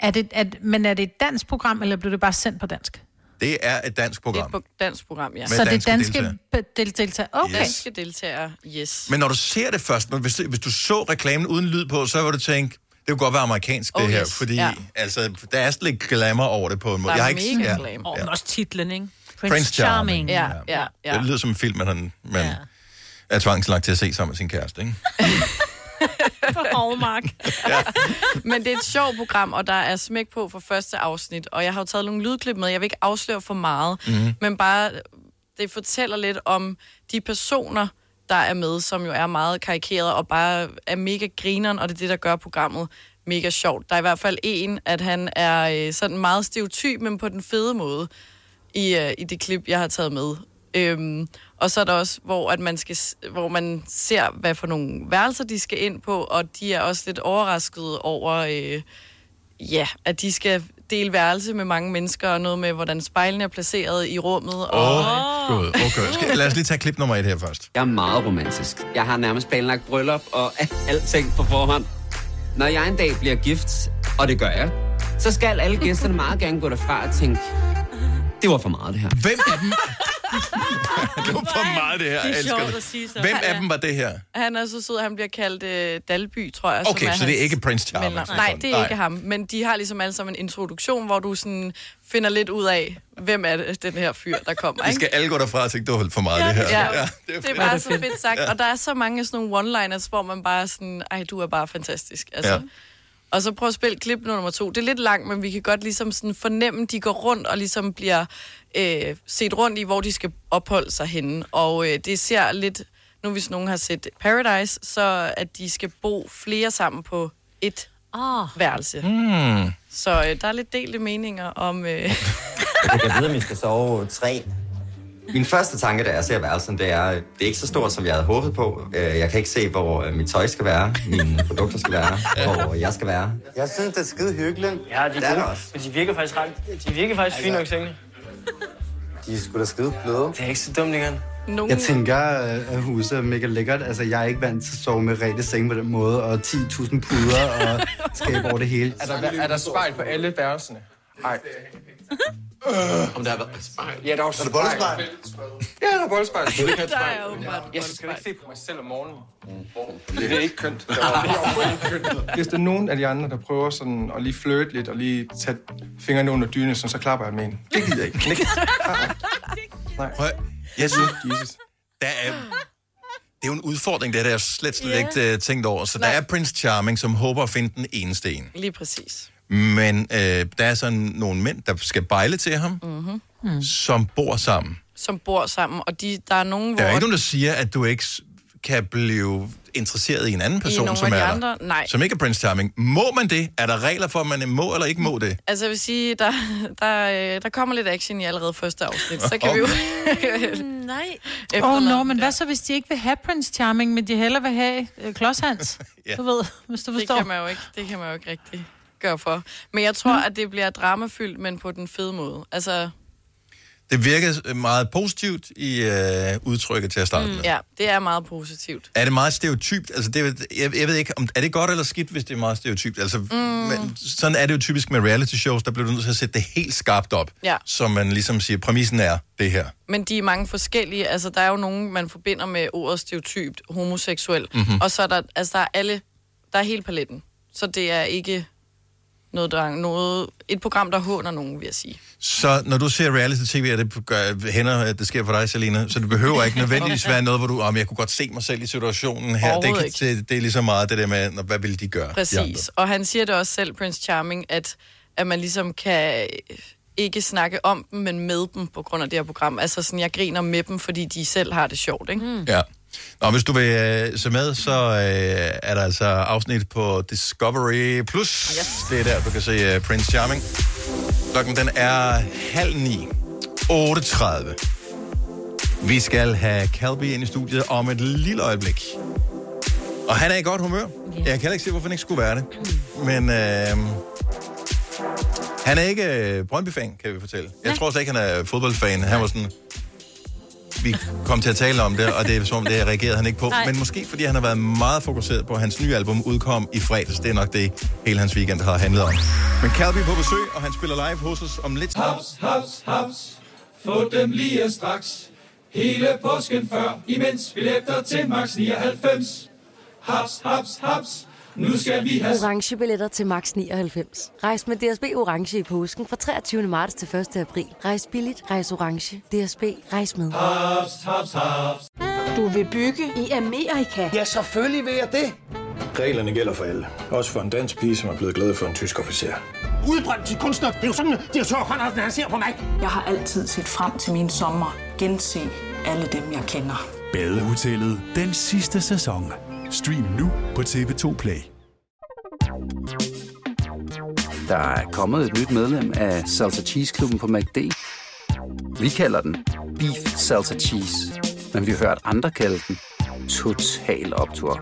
S3: Er det, er, men er det et dansk program, eller blev det bare sendt på dansk?
S1: Det er et dansk program.
S4: Det er et dansk program, ja.
S1: Med
S3: så det er
S1: danske
S3: danske
S1: deltagere.
S3: deltagere. deltagere. Okay.
S4: Danske deltagere, yes.
S1: Men når du ser det først, når, hvis, hvis du så reklamen uden lyd på, så vil du tænke, det kunne godt være amerikansk, det
S5: Oh,
S1: her.
S5: yes.
S1: Fordi
S5: Ja.
S1: altså, der er sådan lidt glamour over det på en måde.
S5: Der er
S1: har ikke,
S5: mega glamour. Og også titlen, ikke?
S1: Prince Prince Charming. Charming.
S4: Ja, ja, ja.
S1: Det lyder som en film, man, man ja. er tvangslagt til at se sammen med sin kæreste, ikke?
S4: på Hallmark. Men det er et sjovt program, og der er smæk på for første afsnit. Og jeg har jo taget nogle lydklip med. Jeg vil ikke afsløre for meget,
S6: Mhm.
S4: mm. men bare det fortæller lidt om de personer, der er med, som jo er meget karikerede og bare er mega grineren, og det er det, der gør programmet mega sjovt. Der er i hvert fald en, at han er øh, sådan meget stereotyp, men på den fede måde i, øh, i det klip, jeg har taget med. Øhm, og så er der også, hvor, at man skal, s- hvor man ser, hvad for nogle værelser de skal ind på, og de er også lidt overrasket over, øh, ja, at de skal dele værelse med mange mennesker, og noget med, hvordan spejlene er placeret i rummet.
S1: Åh,
S4: og,
S1: oh, god. Okay. Skal, lad os lige tage klip nummer et her først.
S21: Jeg er meget romantisk. Jeg har nærmest planlagt bryllup og alting på forhånd. Når jeg en dag bliver gift, og det gør jeg, så skal alle gæsterne meget gerne gå derfra og tænke, det var for meget det her.
S1: Hvem af dem? det var for meget det her.
S4: Det er
S1: Jeg elsker
S4: sjovt
S1: det.
S4: at sige så.
S1: Hvem
S4: Ja.
S1: af dem var det her?
S4: Han er så sød, at han bliver kaldt øh, Dalby, tror jeg.
S1: Okay,
S4: som er
S1: så det er
S4: hans
S1: ikke altså. Prince Charming.
S4: mellemnavn.
S1: som
S4: Nej,
S1: sådan.
S4: det er ikke ham. Men de har ligesom alle sammen en introduktion, hvor du sådan finder lidt ud af, hvem er det, den her fyr, der kommer.
S1: Vi skal alle gå derfra og tænke, det var for meget det her.
S4: Ja,
S1: Ja.
S4: ja, det, er det er bare så fedt sagt.
S1: Ja.
S4: Og der er så mange af sådan nogle one-liners, hvor man bare er sådan, ej, du er bare fantastisk. Altså.
S1: Ja.
S4: Ja. Og så prøv at spille klip nummer to. Det er lidt langt, men vi kan godt ligesom sådan fornemme, de går rundt og ligesom bliver øh, set rundt i, hvor de skal opholde sig henne. Og øh, det ser lidt, nu hvis nogen har set Paradise, så at de skal bo flere sammen på et oh. værelse.
S21: Hmm.
S4: Så øh, der er lidt delte meninger om... Øh,
S22: Jeg ved, om jeg skal sove tre. Min første tanke, da jeg ser værelsen, det er, det er ikke så stort, som jeg havde håbet på. Øh, Jeg kan ikke se, hvor øh, mit tøj skal være, mine produkter skal være, hvor jeg skal være. Jeg synes, det er skide hyggeligt.
S23: Ja, de
S22: Det er
S23: er
S22: der
S23: gode,
S22: også.
S23: men de virker faktisk ret. De virker faktisk fine nok, sengene.
S22: De er sgu da skide bløde. Det er ikke så dumt længere.
S4: nogen...
S24: Jeg tænker, øh, at huset er mega lækkert. Altså, jeg er ikke vant til at sove med rette seng på den måde, og 10.000 puder og skab over det hele.
S23: Er der, er der spejl på alle værelserne? Nej.
S1: Øh.
S23: Om der har været spejl? Ja, der er også
S24: Er der bollespejl?
S23: Ja, der er bollespejl.
S22: Der er
S23: åbenbart Jeg skal ikke se på mig selv om morgenen.
S11: Mm.
S23: Det er ikke kønt. Det er overhovedet ikke kønt. Hvis der er nogen af de andre, der prøver sådan at lige flirte lidt og lige tage fingrene under dynen, så, så klapper jeg med en. Det gider jeg ikke. Ikke. Nej.
S1: Prøv, jeg synes, der er, det er jo en udfordring, det her, der er slet, slet
S4: Ja.
S1: ikke uh, tænkt over. Så der er Prince Charming, som håber at finde den eneste en.
S4: lige præcis.
S1: Men øh, der er sådan nogle mænd, der skal bejle til ham,
S4: Mm-hmm.
S1: mm. som bor sammen.
S4: Som bor sammen, og de, der er nogen,
S1: Der er
S4: hvor...
S1: ikke nogen, der siger, at du ikke s- kan blive interesseret i en anden person,
S4: nogle
S1: som
S4: af
S1: er
S4: de
S1: der,
S4: andre? Nej.
S1: som ikke er Prince Charming. Må man det? Er der regler for, at man må eller ikke må det?
S4: Altså jeg vil sige, der, der, øh, der kommer lidt action i allerede første afsnit, så kan vi jo...
S3: Nej.
S4: Efter
S3: Åh, oh, no,
S4: noget,
S3: men hvad så, hvis de ikke vil have Prince Charming, men de hellere vil have øh, Klods Hans?
S4: Ja.
S3: Du ved, hvis du
S4: det
S3: forstår.
S4: kan man jo ikke, det kan man jo ikke rigtig gøre for. Men jeg
S3: Mm.
S4: tror, at det bliver dramafyldt, men på den fede måde. Altså,
S1: Det virker øh, meget positivt i øh, udtrykket til at starte
S4: mm,
S1: med.
S4: ja, det er meget positivt.
S1: Er det meget stereotypt? Altså, det, er- jeg, jeg ved ikke, om, er det godt eller skidt, hvis det er meget stereotypt? Altså, mm. men, sådan er det jo typisk med reality shows, der bliver du nødt til at sætte det helt skarpt op.
S4: Ja.
S1: Så man ligesom siger, præmissen er det her.
S4: Men de er mange forskellige. Altså, der er jo nogen, man forbinder med ordet stereotypt, homoseksuel.
S1: Mhm.
S4: Mm-hmm. Og så er der, altså, der er alle, der er hele paletten. Så det er ikke noget, der er noget, et program, der håner nogen, vil jeg sige.
S1: Så når du ser reality-tv, og det gør, hænder, at det sker for dig, Selina, så det behøver ikke nødvendigvis være noget, hvor du, om jeg kunne godt se mig selv i situationen her. Det,
S4: Overhovedet
S1: kan- det, det er lige så meget det der med, "Nå, hvad ville de gøre? de andre?"
S4: Præcis. Og han siger det også selv, Prince Charming, at, at man ligesom kan øh, ikke snakke om dem, men med dem på grund af det her program. Altså sådan, jeg griner med dem, fordi de selv har det sjovt, ikke? Mm.
S1: Ja. Nå, hvis du vil øh, se med, så øh, er der altså afsnit på Discovery+. Plus. Yes. Det er der, du kan se øh, Prince Charming. Klokken den er halv ni. 8.30. Vi skal have Calby ind i studiet om et lille øjeblik. Og han er i godt humør. Jeg kan heller ikke se, hvorfor han ikke skulle være det. Men øh, han er ikke øh, Brøndby-fan, kan vi fortælle. Jeg tror slet ikke, han er fodboldfan. Han var sådan, vi kom til at tale om det, og det er som om, det reagerede han ikke på.
S11: Nej.
S1: Men måske fordi han har været meget fokuseret på, at hans nye album udkom i fredags. Det er nok det, hele hans weekend har handlet om. Men Calby er på besøg, og han spiller live hos os om lidt.
S8: Haps, haps, haps. Få dem lige straks. Hele påsken før, imens billetter til max 99. Haps, haps, haps. Nu skal vi have...
S9: Orange billetter til max 99. Rejs med DSB Orange i påsken fra 23. marts til 1. april. Rejs billigt, rejs orange. DSB, rejs med.
S8: Haps, haps, haps.
S20: Du vil bygge i Amerika? Ja, selvfølgelig vil jeg det.
S10: Reglerne gælder for alle. Også for en dansk pige, som er blevet glad for en tysk officer.
S12: Udbrændt til kunstner. Det er jo sådan, at de har tørt, Conradsen, han ser på mig. Jeg har altid set frem til min sommer. Gense alle dem, jeg kender.
S15: Badehotellet den sidste sæson. Stream nu på TV2 Play.
S19: Der er kommet et nyt medlem af Salsa Cheese Klubben på MACD. Vi kalder den Beef Salsa Cheese, men vi har hørt andre kalde den Total Optor.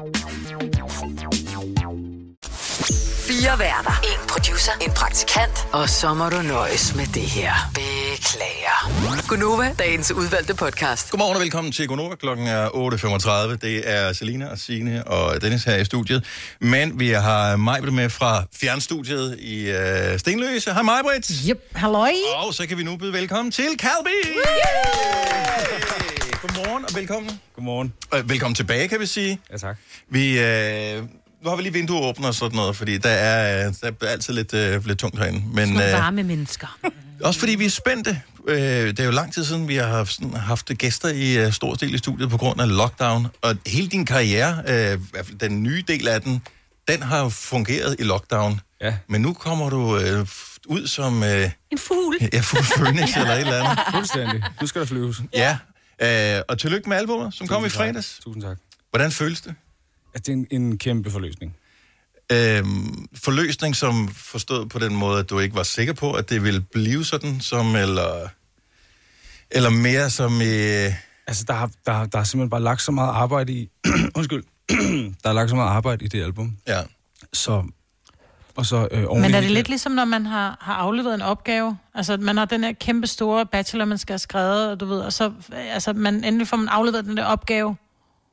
S7: Fire værter. En producer. En praktikant. Og så må du nøjes med det her. Beklager. Gunova, dagens udvalgte podcast.
S1: Godmorgen og velkommen til Gonova. Klokken er 8.35. Det er Selina og Signe og Dennis her i studiet. Men vi har Majbrit med fra fjernstudiet i øh, Stenløse. Hej Majbrit.
S3: Yep, halløj.
S1: Og så kan vi nu byde velkommen til Calby. Godmorgen og velkommen. Godmorgen. Øh, velkommen tilbage, kan vi sige. Ja, tak. Vi, øh, nu har vi lige vinduer åbne og sådan noget, fordi der er, øh, der er altid lidt, øh, lidt tungt herinde.
S2: Sådan
S1: Men,
S2: nogle
S1: øh,
S2: varme mennesker.
S1: også fordi vi er spændte. Øh, det er jo lang tid siden, vi har haft, sådan, haft gæster i øh, stor del i studiet på grund af lockdown. Og hele din karriere, øh, i hvert fald den nye del af den, den har jo fungeret i lockdown. Ja. Men nu kommer du øh, f- ud som... Øh,
S2: En fugl.
S1: Ja, fuld Phoenix eller et eller andet.
S11: Fuldstændig. Nu skal der flyves.
S1: Ja. Øh, og tillykke med albumet, som kom i
S11: Tusind tak.
S1: fredags.
S11: Tusind tak.
S1: Hvordan føles det?
S11: At det er en, en kæmpe forløsning.
S1: Øhm, forløsning, som forstået på den måde, at du ikke var sikker på, at det ville blive sådan, som eller, eller mere som... Øh,
S11: Altså, der, har- der, der er simpelthen bare lagt så meget arbejde i... Undskyld. der er lagt så meget arbejde i det album.
S1: Ja.
S11: Så... Og så øh, oven
S3: Men
S11: i
S3: er det
S11: det-
S3: lidt ligesom, når man har, har afleveret en opgave? Altså, at man har den her kæmpe store bachelor, man skal have skrevet, og du ved, og så, altså, man endelig får man afleveret den der opgave.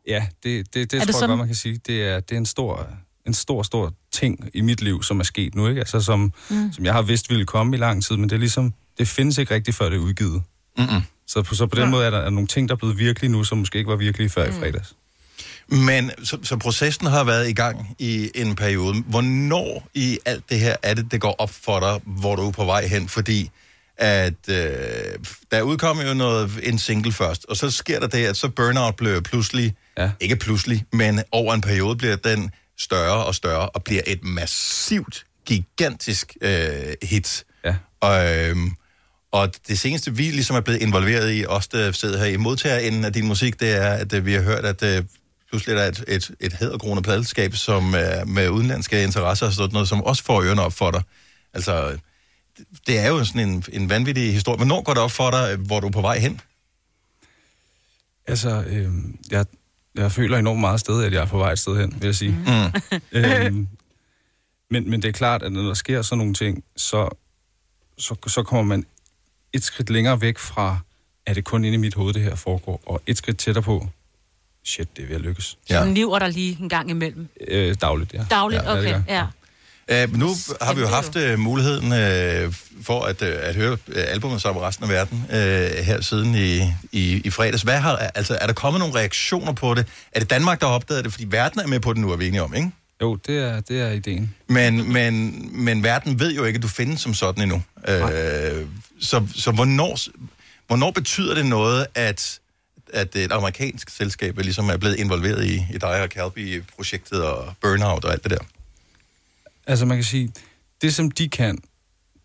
S11: Ja, det, det, det
S3: Er
S11: tror det
S3: det
S11: jeg
S3: sådan-
S11: godt, man kan sige. Det er, det er en, stor, en stor, stor ting i mit liv, som er sket nu, ikke? Altså, som,
S3: Mm.
S11: mm. som jeg har vidst ville komme i lang tid, men det er ligesom, det findes ikke rigtigt, før det er udgivet.
S1: Mm-mm.
S11: Så på, så på den ja. måde er der er nogle ting, der er blevet virkelige nu, som måske ikke var virkelige før mm. i fredags.
S1: Men så, så processen har været i gang i en periode. Hvornår i alt det her er det, det går op for dig, hvor du er på vej hen? Fordi at øh, der udkom jo noget, en single først, og så sker der det, at så Burnout blev pludselig, ja. ikke pludselig, men over en periode bliver den større og større, og bliver et massivt, gigantisk øh, hit.
S11: Ja.
S1: Og, øhm, og det seneste, vi ligesom er blevet involveret i, os der sidder her i modtagerenden af din musik, det er, at øh, vi har hørt, at øh, pludselig er der et, et, et hæderkronet pladselskab, som øh, med udenlandske interesser og sådan noget, som også får ørerne op for dig. Altså, det- det er jo sådan en, en vanvittig historie. Hvornår går det op for dig, øh, hvor du er på vej hen?
S11: Altså, øh, jeg, jeg føler enormt meget sted, at jeg er på vej et sted hen, vil jeg sige.
S1: Mm.
S11: øhm, men, men det er klart, at når der sker sådan nogle ting, så, så, så kommer man et skridt længere væk fra, at det kun inde i mit hoved, det her foregår, og et skridt tættere på, shit, det er ved at lykkes.
S2: Ja. Som niver der lige en gang imellem.
S11: Øh, dagligt, ja.
S2: Dagligt,
S11: ja,
S2: ja,
S11: det
S2: okay,
S11: gør.
S2: ja.
S1: Øh, nu har vi jo haft øh, muligheden øh, for at, øh, at høre øh, albumet sammen med resten af verden øh, her siden i, i, i fredags. Hvad har, altså, er der kommet nogle reaktioner på det? Er det Danmark, der har opdaget det? Fordi verden er med på det nu, er vi enige om, ikke?
S11: Jo, det er, det er ideen.
S1: Men, men, men verden ved jo ikke, at du findes som sådan endnu. Øh, så så hvornår, hvornår betyder det noget, at, at et amerikansk selskab ligesom er blevet involveret i, i dig og Calby-projektet og Burnout og alt det der?
S11: Altså man kan sige, det som de kan,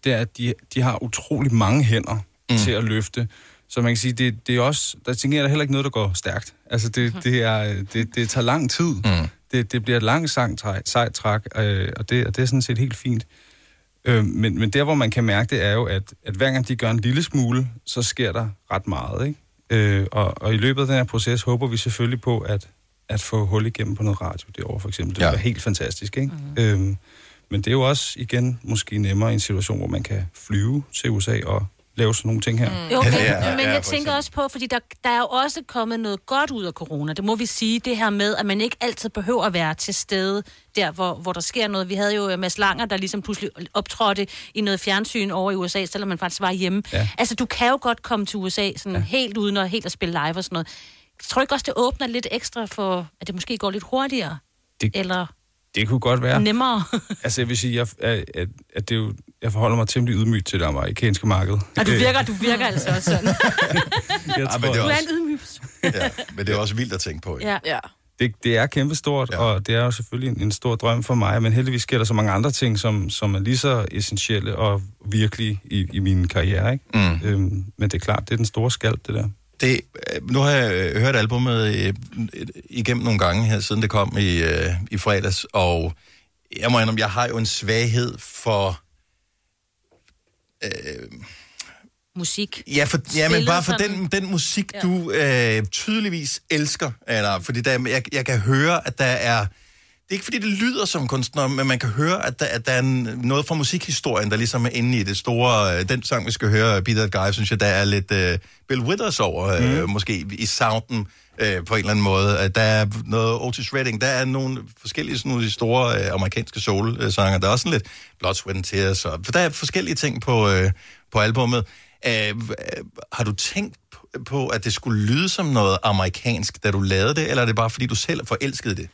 S11: det er, at de, de har utrolig mange hænder mm. til at løfte. Så man kan sige, det, det er også, der tænker jeg, der er heller ikke noget, der går stærkt. Altså det, det, er, øh, det, det tager lang tid. Mm. Det, det bliver et langt sejt træk, sejt træk øh, og, det, og det er sådan set helt fint. Øh, men, men der, hvor man kan mærke det, er jo, at, at hver gang de gør en lille smule, så sker der ret meget. Ikke? Øh, og, og i løbet af den her proces håber vi selvfølgelig på, at, at få hul igennem på noget radio derovre, for eksempel. Det ja.
S1: Ja.
S11: vil være helt fantastisk, ikke? Mm.
S2: Mhm.
S11: Øhm, men det er jo også, igen, måske nemmere i en situation, hvor man kan flyve til USA og lave sådan nogle ting her. Mm.
S2: Jo, men, men jeg tænker også på, fordi der, der er jo også kommet noget godt ud af corona. Det må vi sige, det her med, at man ikke altid behøver at være til stede der, hvor, hvor der sker noget. Vi havde jo øh, Mads Langer, der ligesom pludselig optrådte i noget fjernsyn over i USA, selvom man faktisk var hjemme. Ja.
S11: Ja.
S2: Altså, du kan jo godt komme til USA sådan ja. helt uden at helt at spille live og sådan noget. Tror du ikke også, det åbner lidt ekstra for, at det måske går lidt hurtigere?
S11: Det-
S2: Eller
S11: Det kunne godt være.
S2: nemmere?
S11: Altså, jeg vil sige, jeg, at, at- at det er jo, jeg forholder mig temmelig ydmygt til det amerikanske marked.
S2: Og Ah, du
S11: Øh,
S2: virker, du virker altså også sådan.
S11: jeg tror,
S1: Ah, men det
S2: Du
S1: er
S2: er
S1: også-
S2: en ydmyg person.
S1: Ja, men det er også vildt at tænke på, ikke?
S2: Ja. ja.
S11: det, det er kæmpestort, ja. og det er jo selvfølgelig en, en stor drøm for mig, men heldigvis sker der så mange andre ting, som, som er lige så essentielle og virkelige i, i min karriere. Ikke? Mm. Øhm, men det er klart, det er den store skalp, det der.
S1: Det, øh, nu har jeg øh, hørt albumet øh, øh, igennem nogle gange her, siden det kom i, øh, i fredags, og jeg må indrømme, jeg har jo en svaghed for... Øh,
S2: Musik.
S1: ja, for, ja, men
S2: Spillet
S1: bare for
S2: sådan.
S1: den, den musik, du øh, tydeligvis elsker. Eller, fordi der, jeg, jeg kan høre, at der er... Det er ikke, fordi det lyder som kunstner, men man kan høre, at der, at der er en- noget fra musikhistorien, der ligesom er inde i det store... Øh, den sang, vi skal høre, Be That Guy, synes jeg, der er lidt øh, Bill Withers over, øh, mm. måske i sounden øh, på en eller anden måde. Øh, Der er noget Otis Redding, der er nogle forskellige sådan nogle af de store øh, amerikanske soul-sanger. Der er også sådan lidt Blood, Sweat and Tears, og der er forskellige ting på, øh, på albummet. Øh, øh, har du tænkt p- på, at det skulle lyde som noget amerikansk, da du lavede det, eller er det bare, fordi du selv forelskede det?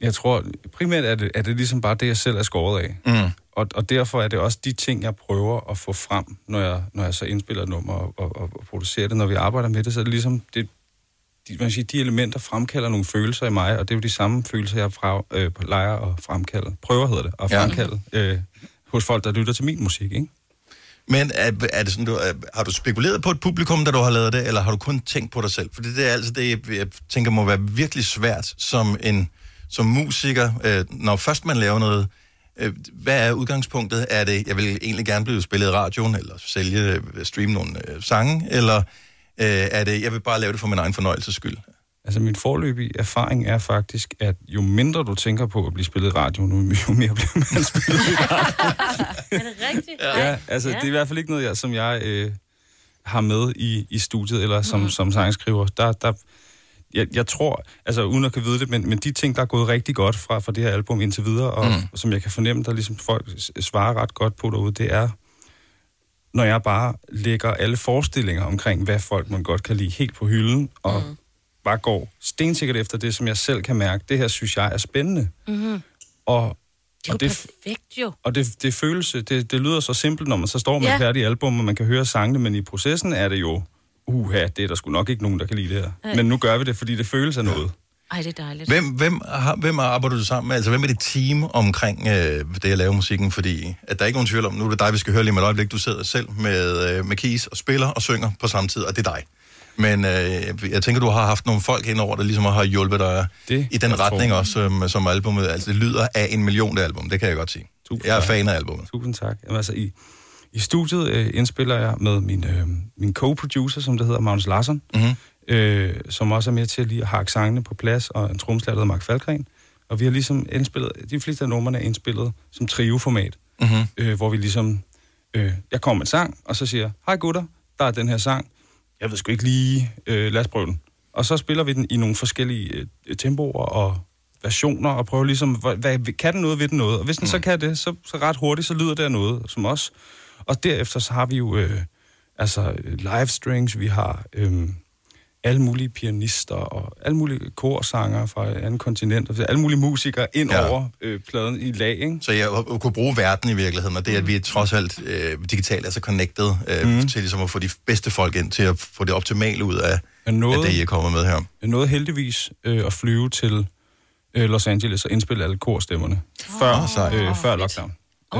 S11: Jeg tror, primært er det, er det ligesom bare det, jeg selv er skåret af.
S1: Mm.
S11: Og, og derfor er det også de ting, jeg prøver at få frem, når jeg, når jeg så indspiller et nummer og, og, og og producerer det. Når vi arbejder med det, så er det ligesom... Det, de, man kan sige, de elementer fremkalder nogle følelser i mig, og det er jo de samme følelser, jeg fra, øh, leger og fremkalder. Prøver hedder det, og
S1: Ja.
S11: fremkalde øh, hos folk, der lytter til min musik, ikke?
S1: Men er, er det sådan, du, er, har du spekuleret på et publikum, da du har lavet det, eller har du kun tænkt på dig selv? For det er altså det, jeg- jeg tænker må være virkelig svært som en som musiker, øh, når først man laver noget. Øh, hvad er udgangspunktet? Er det, jeg vil egentlig gerne blive spillet i radioen, eller sælge, øh, streame nogle øh, sange, eller øh, er det, jeg vil bare lave det for min egen fornøjelses skyld?
S11: Altså min forløbige erfaring er faktisk, at jo mindre du tænker på at blive spillet i radioen, jo- jo mere bliver man spillet i
S2: Er det rigtigt?
S11: Ja, altså ja. det er i hvert fald ikke noget, jeg, som jeg øh, har med i, i studiet, eller som, mm. som sangskriver. Der, der, jeg, jeg tror, altså uden at kan vide det, men, men de ting, der er gået rigtig godt fra, fra det her album indtil videre, og mm. som jeg kan fornemme, der ligesom folk s- svarer ret godt på derude, det er, når jeg bare lægger alle forestillinger omkring, hvad folk man godt kan lide, helt på hylden, og mm. bare går stensikkert efter det, som jeg selv kan mærke, det her synes jeg er spændende.
S2: Mm-hmm.
S11: Og,
S2: Det er jo
S11: og
S2: det...
S11: det,
S2: perfekt, jo.
S11: og det, det følelse, det, det lyder så simpelt, når man så står med
S2: Ja.
S11: ja. et færdigt album, og man kan høre sangene, men i processen er det jo, uha, det er der sgu nok ikke nogen, der kan lide det her.
S2: Nej.
S11: Men nu gør vi det, fordi det føles af noget.
S2: Ej, det er dejligt.
S1: Hvem, hvem, har, hvem arbejder du sammen med? Altså, hvem er det team omkring øh, det at lave musikken? Fordi at der er ikke nogen tvivl om, nu er det dig, vi skal høre lige med et øjeblik. Du sidder selv med, øh, med keys og spiller og synger på samme tid, og det er dig. Men øh, jeg tænker, du har haft nogle folk indover, der ligesom har hjulpet dig det, i den retning
S11: tror.
S1: også, som, som albumet. Altså, det lyder af en million, det album. Det kan jeg godt sige.
S11: Tusind
S1: jeg er
S11: tak.
S1: fan af albumet.
S11: Tusind tak. Jamen, altså, i, i studiet øh, indspiller jeg med min, øh, min co-producer, som det hedder, Magnus Larsen,
S1: Mm-hmm.
S11: øh, som også er med til at lige at hakke sangene på plads, og en tromslærer, der hedder Mark Falkgren. Og vi har ligesom indspillet, de fleste af numrene er indspillet som trioformat,
S1: Mm-hmm.
S11: øh, hvor vi ligesom, øh, jeg kommer med en sang, og så siger jeg, hej gutter, der er den her sang, jeg ved sgu ikke lige, øh, lad os prøve den. Og så spiller vi den i nogle forskellige øh, tempoer og versioner, og prøver ligesom, hvad, hvad, kan den noget, ved den noget? Og hvis den mm. så kan det, så, så ret hurtigt, så lyder det af noget, som os. Og derefter så har vi jo, øh, altså øh, live strings, vi har øh, alle mulige pianister, og alle mulige korsanger fra andre kontinenter, altså alle mulige musikere ind
S1: Ja.
S11: ja. over øh, pladen i lag, ikke? Mm.
S1: Så jeg øh, kunne bruge verden i virkeligheden, og det, at vi er trods alt øh, digitalt er så connected øh, mm. til ligesom at få de bedste folk ind, til at få det optimale ud af,
S11: Men noget-
S1: af det, I er kommet med her.
S11: Jeg nåede heldigvis øh, at flyve til øh, Los Angeles og indspille alle korstemmerne,
S1: Ah,
S11: før, øh, før lockdown. Øhm,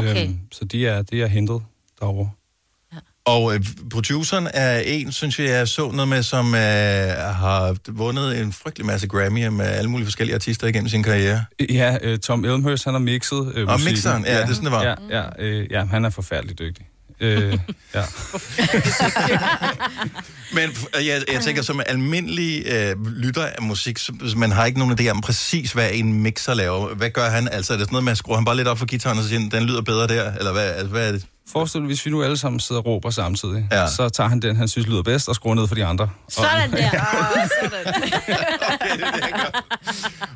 S1: Okay.
S11: så de er, de er hentet derovre.
S1: Og øh, produceren er en, synes jeg, jeg så noget med, som øh, har vundet en frygtelig masse Grammy'er med alle mulige forskellige artister igennem sin karriere.
S11: Ja, øh, Tom Elmhurst, han har mixet øh,
S1: Og
S11: musikken.
S1: Ah, mixeren, ja, det er sådan, det var.
S11: Ja, ja, øh, ja han er forfærdelig dygtig. Øh, ja.
S1: Men øh, jeg, jeg tænker, som almindelig øh, lytter af musik, så, så man har ikke nogen idé om præcis, hvad en mixer laver. Hvad gør han? Altså, er det sådan noget med, at skruer han bare lidt op for gitaren og så siger, den lyder bedre der? Eller hvad, altså, hvad er det?
S11: Forestil dig, hvis vi nu alle sammen sidder og råber samtidig,
S1: Ja.
S11: ja. så tager han den, han synes lyder bedst, og skruer ned for de andre.
S2: Sådan der. Ah.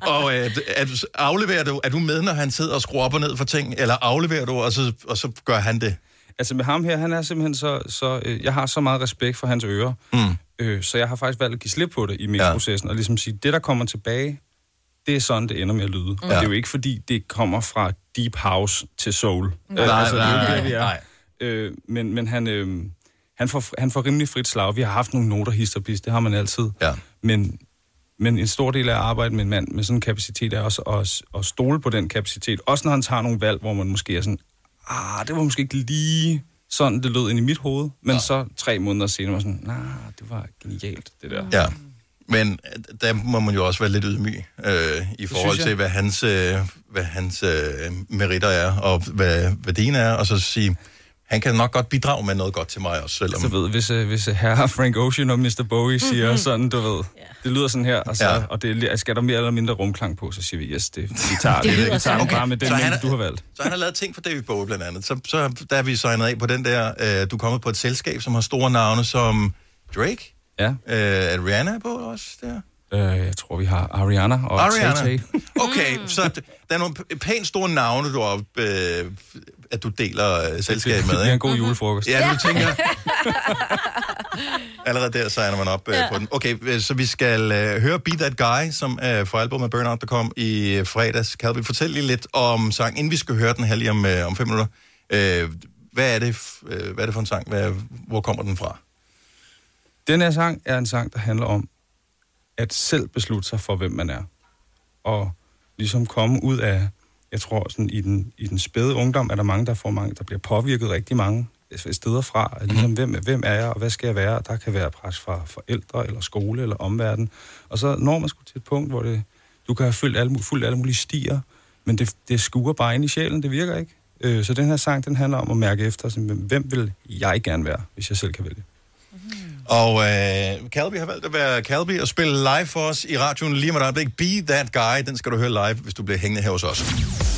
S1: Og øh, er du, afleverer du, er du med, når han sidder og skruer op og ned for ting? Eller afleverer du, og så, og så gør han det?
S11: Altså med ham her, han er simpelthen så... så øh, jeg har så meget respekt for hans ører,
S1: Mm.
S11: øh, så jeg har faktisk valgt at give slip på det i mixprocessen, ja. og ligesom sige, det der kommer tilbage, det er sådan, det ender med at lyde. Mm. Og det er jo ikke, fordi det kommer fra deep house til soul.
S1: Nej,
S11: Øh,
S1: nej,
S11: det er jo
S1: nej,
S11: det, det er.
S1: nej.
S11: Øh, men men han, øh, han, får, han får rimelig frit slag. Vi har haft nogle noter hist og pis, det har man altid.
S1: Ja.
S11: Men, men en stor del af at arbejde med en mand med sådan en kapacitet er også at, at stole på den kapacitet. Også når han tager nogle valg, hvor man måske er sådan, ah, det var måske ikke lige sådan, det lød ind i mit hoved. Men ja. så tre måneder senere var jeg sådan, nej, nah, det var genialt, det der.
S1: Ja. Men øh, der må man jo også være lidt ydmyg øh, i forhold
S11: synes jeg.
S1: til, hvad hans, øh, hvad hans øh, meritter er, og hvad, hvad dine er, og så sige, han kan nok godt bidrage med noget godt til mig også, selvom...
S11: Så ved, hvis, øh, hvis øh, herre Frank Ocean og Mr. Bowie siger mm-hmm. sådan, du ved, det lyder sådan her, og, så,
S1: Ja.
S11: ja. og det er- skal der mere eller mindre rumklang på, så siger vi, yes, det, vi tager
S1: Det
S11: det,
S1: lyder
S11: vi tager
S1: sådan.
S11: den bare med den,
S1: Så han
S11: mængde,
S1: er-
S11: du har valgt.
S1: Så han har lavet ting for David Bowie blandt andet. Så, så der er vi signet af på den der, øh, du er kommet på et selskab, som har store navne som Drake.
S11: Ja.
S1: Øh, er Rihanna på også der?
S11: Øh, jeg tror, vi har Ariana og
S1: Ariana.
S11: Tay-Tay.
S1: Okay, så d- der er nogle p- pænt store navne, du har, øh, at du deler øh, selskab med.
S11: det bliver
S1: ikke?
S11: en god julefrokost.
S1: Ja, du tænker, Allerede der signer man op øh, på den. Okay, øh, så vi skal øh, høre Be That Guy, som øh, fra albumet Burnout, der kom i øh, fredags. Kan vi fortælle lige lidt om sangen, inden vi skal høre den her lige om, øh, om fem minutter? Øh, hvad, er det, f- øh, hvad er det for en sang? Hvad, hvor kommer den fra?
S11: Den her sang er en sang, der handler om at selv beslutte sig for, hvem man er. Og ligesom komme ud af, jeg tror sådan i den, i den spæde ungdom, er der mange, der får mange, der bliver påvirket rigtig mange steder fra. At Ligesom, hvem, er- hvem er jeg, og hvad skal jeg være? Og der kan være pres fra forældre, eller skole, eller omverden. Og så når man skulle til et punkt, hvor det, du kan have fulgt alle, mu- fulgt alle mulige stier, men det, det skuer bare ind i sjælen, det virker ikke. Øh, Så den her sang, den handler om at mærke efter, sådan, hvem vil jeg gerne være, hvis jeg selv kan vælge.
S1: Og øh, Calby har valgt at være Calby og spille live for os i radioen lige om et øjeblik. Be That Guy, den skal du høre live, hvis du bliver hængende her hos os.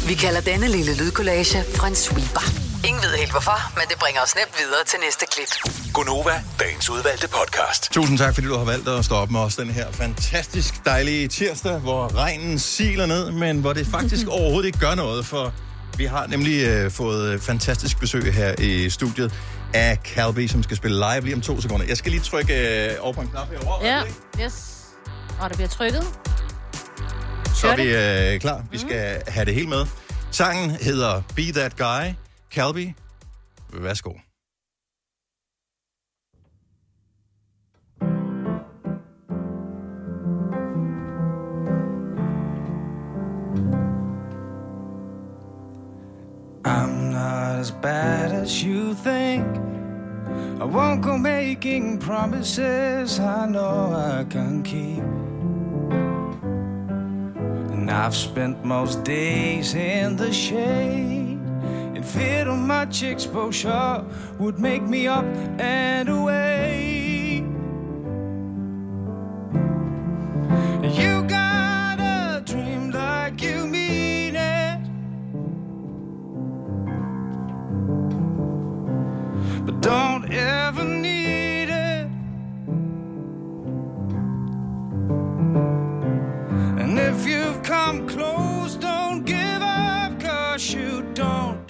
S7: Vi kalder denne lille lydkollage en sweeper. Ingen ved helt hvorfor, men det bringer os nemt videre til næste klip.
S15: Gonova, dagens udvalgte podcast.
S1: Tusind tak, fordi du har valgt at stå op med os den her fantastisk dejlige tirsdag, hvor regnen siler ned, men hvor det faktisk overhovedet ikke gør noget, for vi har nemlig øh, fået øh, fantastisk besøg her i studiet af Calby, som skal spille live lige om to sekunder. Jeg skal lige trykke øh, over på en knap herovre,
S2: Ja, yes. Og der bliver trykket.
S1: så er
S2: Gør
S1: vi øh, klar. Vi skal have det hele med. Sangen hedder Be That Guy, Calby. Værsgo.
S13: I'm not as bad as you think. I won't go making promises I know I can keep. And I've spent most days in the shade. And fear too much exposure would make me up and away. You got a dream like you mean it. But don't ever need it. And if you've come close, don't give up, cause you don't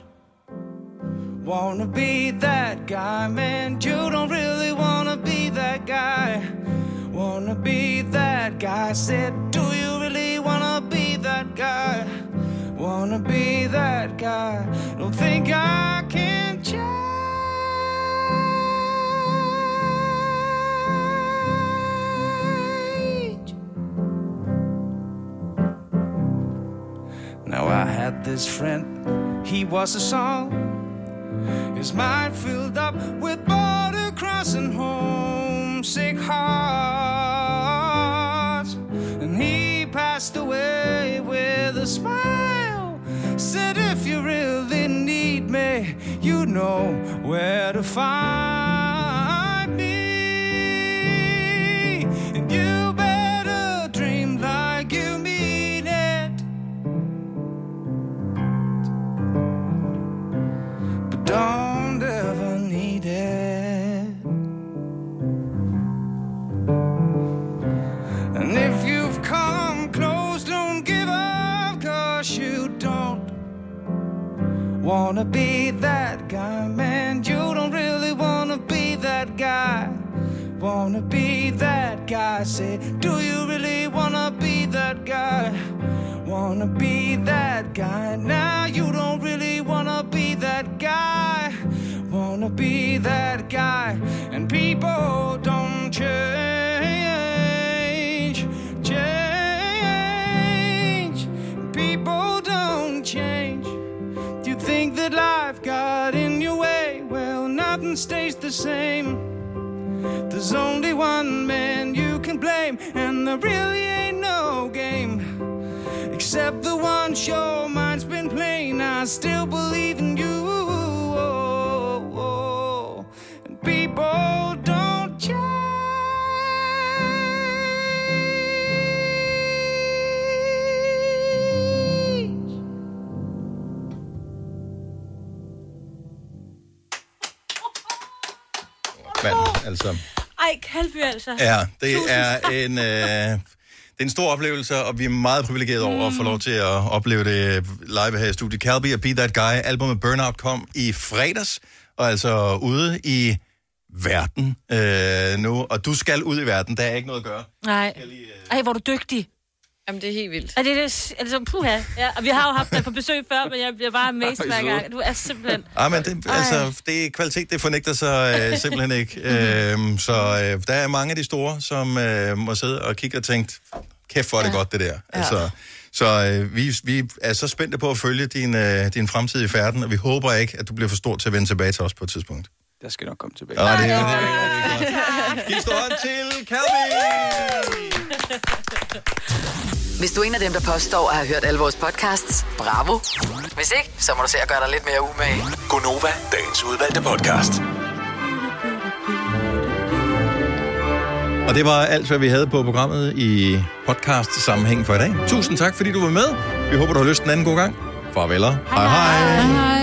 S13: wanna be that guy, man. You don't really wanna be that guy. Wanna be that guy. Said, do you really wanna be that guy? Wanna be that guy. Don't think I can change. Now I had this friend, he was a song. His mind filled up with border crossing homesick hearts. And he passed away with a smile. Said, if you really need me, you know where to find me. And you better dream like you mean it. but don't ever need it. And if you've come close, don't give up, cause you don't wanna be that guy, man. You don't really wanna be that guy. Wanna be that guy, say, do you really wanna be that guy? Wanna be that guy now? You don't really wanna be that guy. Wanna be that guy, and people don't change. Change. People don't change. Do you think that life got in your way? Well, nothing stays the same. There's only one man you can blame, and there really ain't no game. Except the one your mind's been playing, I still believe in you. Oh, oh, oh. And people don't change.
S1: Mand, altså.
S2: Ej, Kalby altså.
S1: Ja, det
S2: Tusind
S1: er
S2: tak.
S1: en, øh, det er en stor oplevelse, og vi er meget privilegerede over at få
S2: Mm.
S1: lov til at opleve det live her i studiet. Calby og Be That Guy, albumet Burnout kom i fredags, og altså ude i verden øh, nu, og du skal ud i verden, der er ikke noget at gøre.
S2: Nej.
S1: øh-
S2: Ej, hvor er du dygtig.
S4: Jamen, det er helt vildt.
S2: Er det, det altså, puha. Ja, og vi har jo haft dig på besøg før, men jeg bliver bare amazed
S1: Ej,
S2: hver
S1: søde.
S2: gang. Du er simpelthen...
S1: Ej, men det, altså, det er kvalitet, det fornægter sig øh, simpelthen ikke. Øhm, så øh, der er mange af de store, som øh, må sidde og kigge og tænke, kæft hvor er det ja. godt, det der. Altså, så øh, vi, vi er så spændte på at følge din, øh, din fremtidige færden, og vi håber ikke, at du bliver for stor til at vende tilbage til os på et tidspunkt.
S13: Jeg skal nok komme tilbage.
S1: Ja, det, det,
S13: Giv stor hånd
S1: til Calvin!
S7: Hvis du er en af dem, der påstår at have hørt alle vores podcasts, bravo. Hvis ikke, så må du se at gøre dig lidt mere umage.
S15: Gonova, dagens udvalgte podcast.
S1: Og det var alt, hvad vi havde på programmet i podcast-sammenhæng for i dag. Tusind tak, fordi du var med. Vi håber, du har lyst en anden god gang. Farveler. Hej hej. hej.
S3: Hej.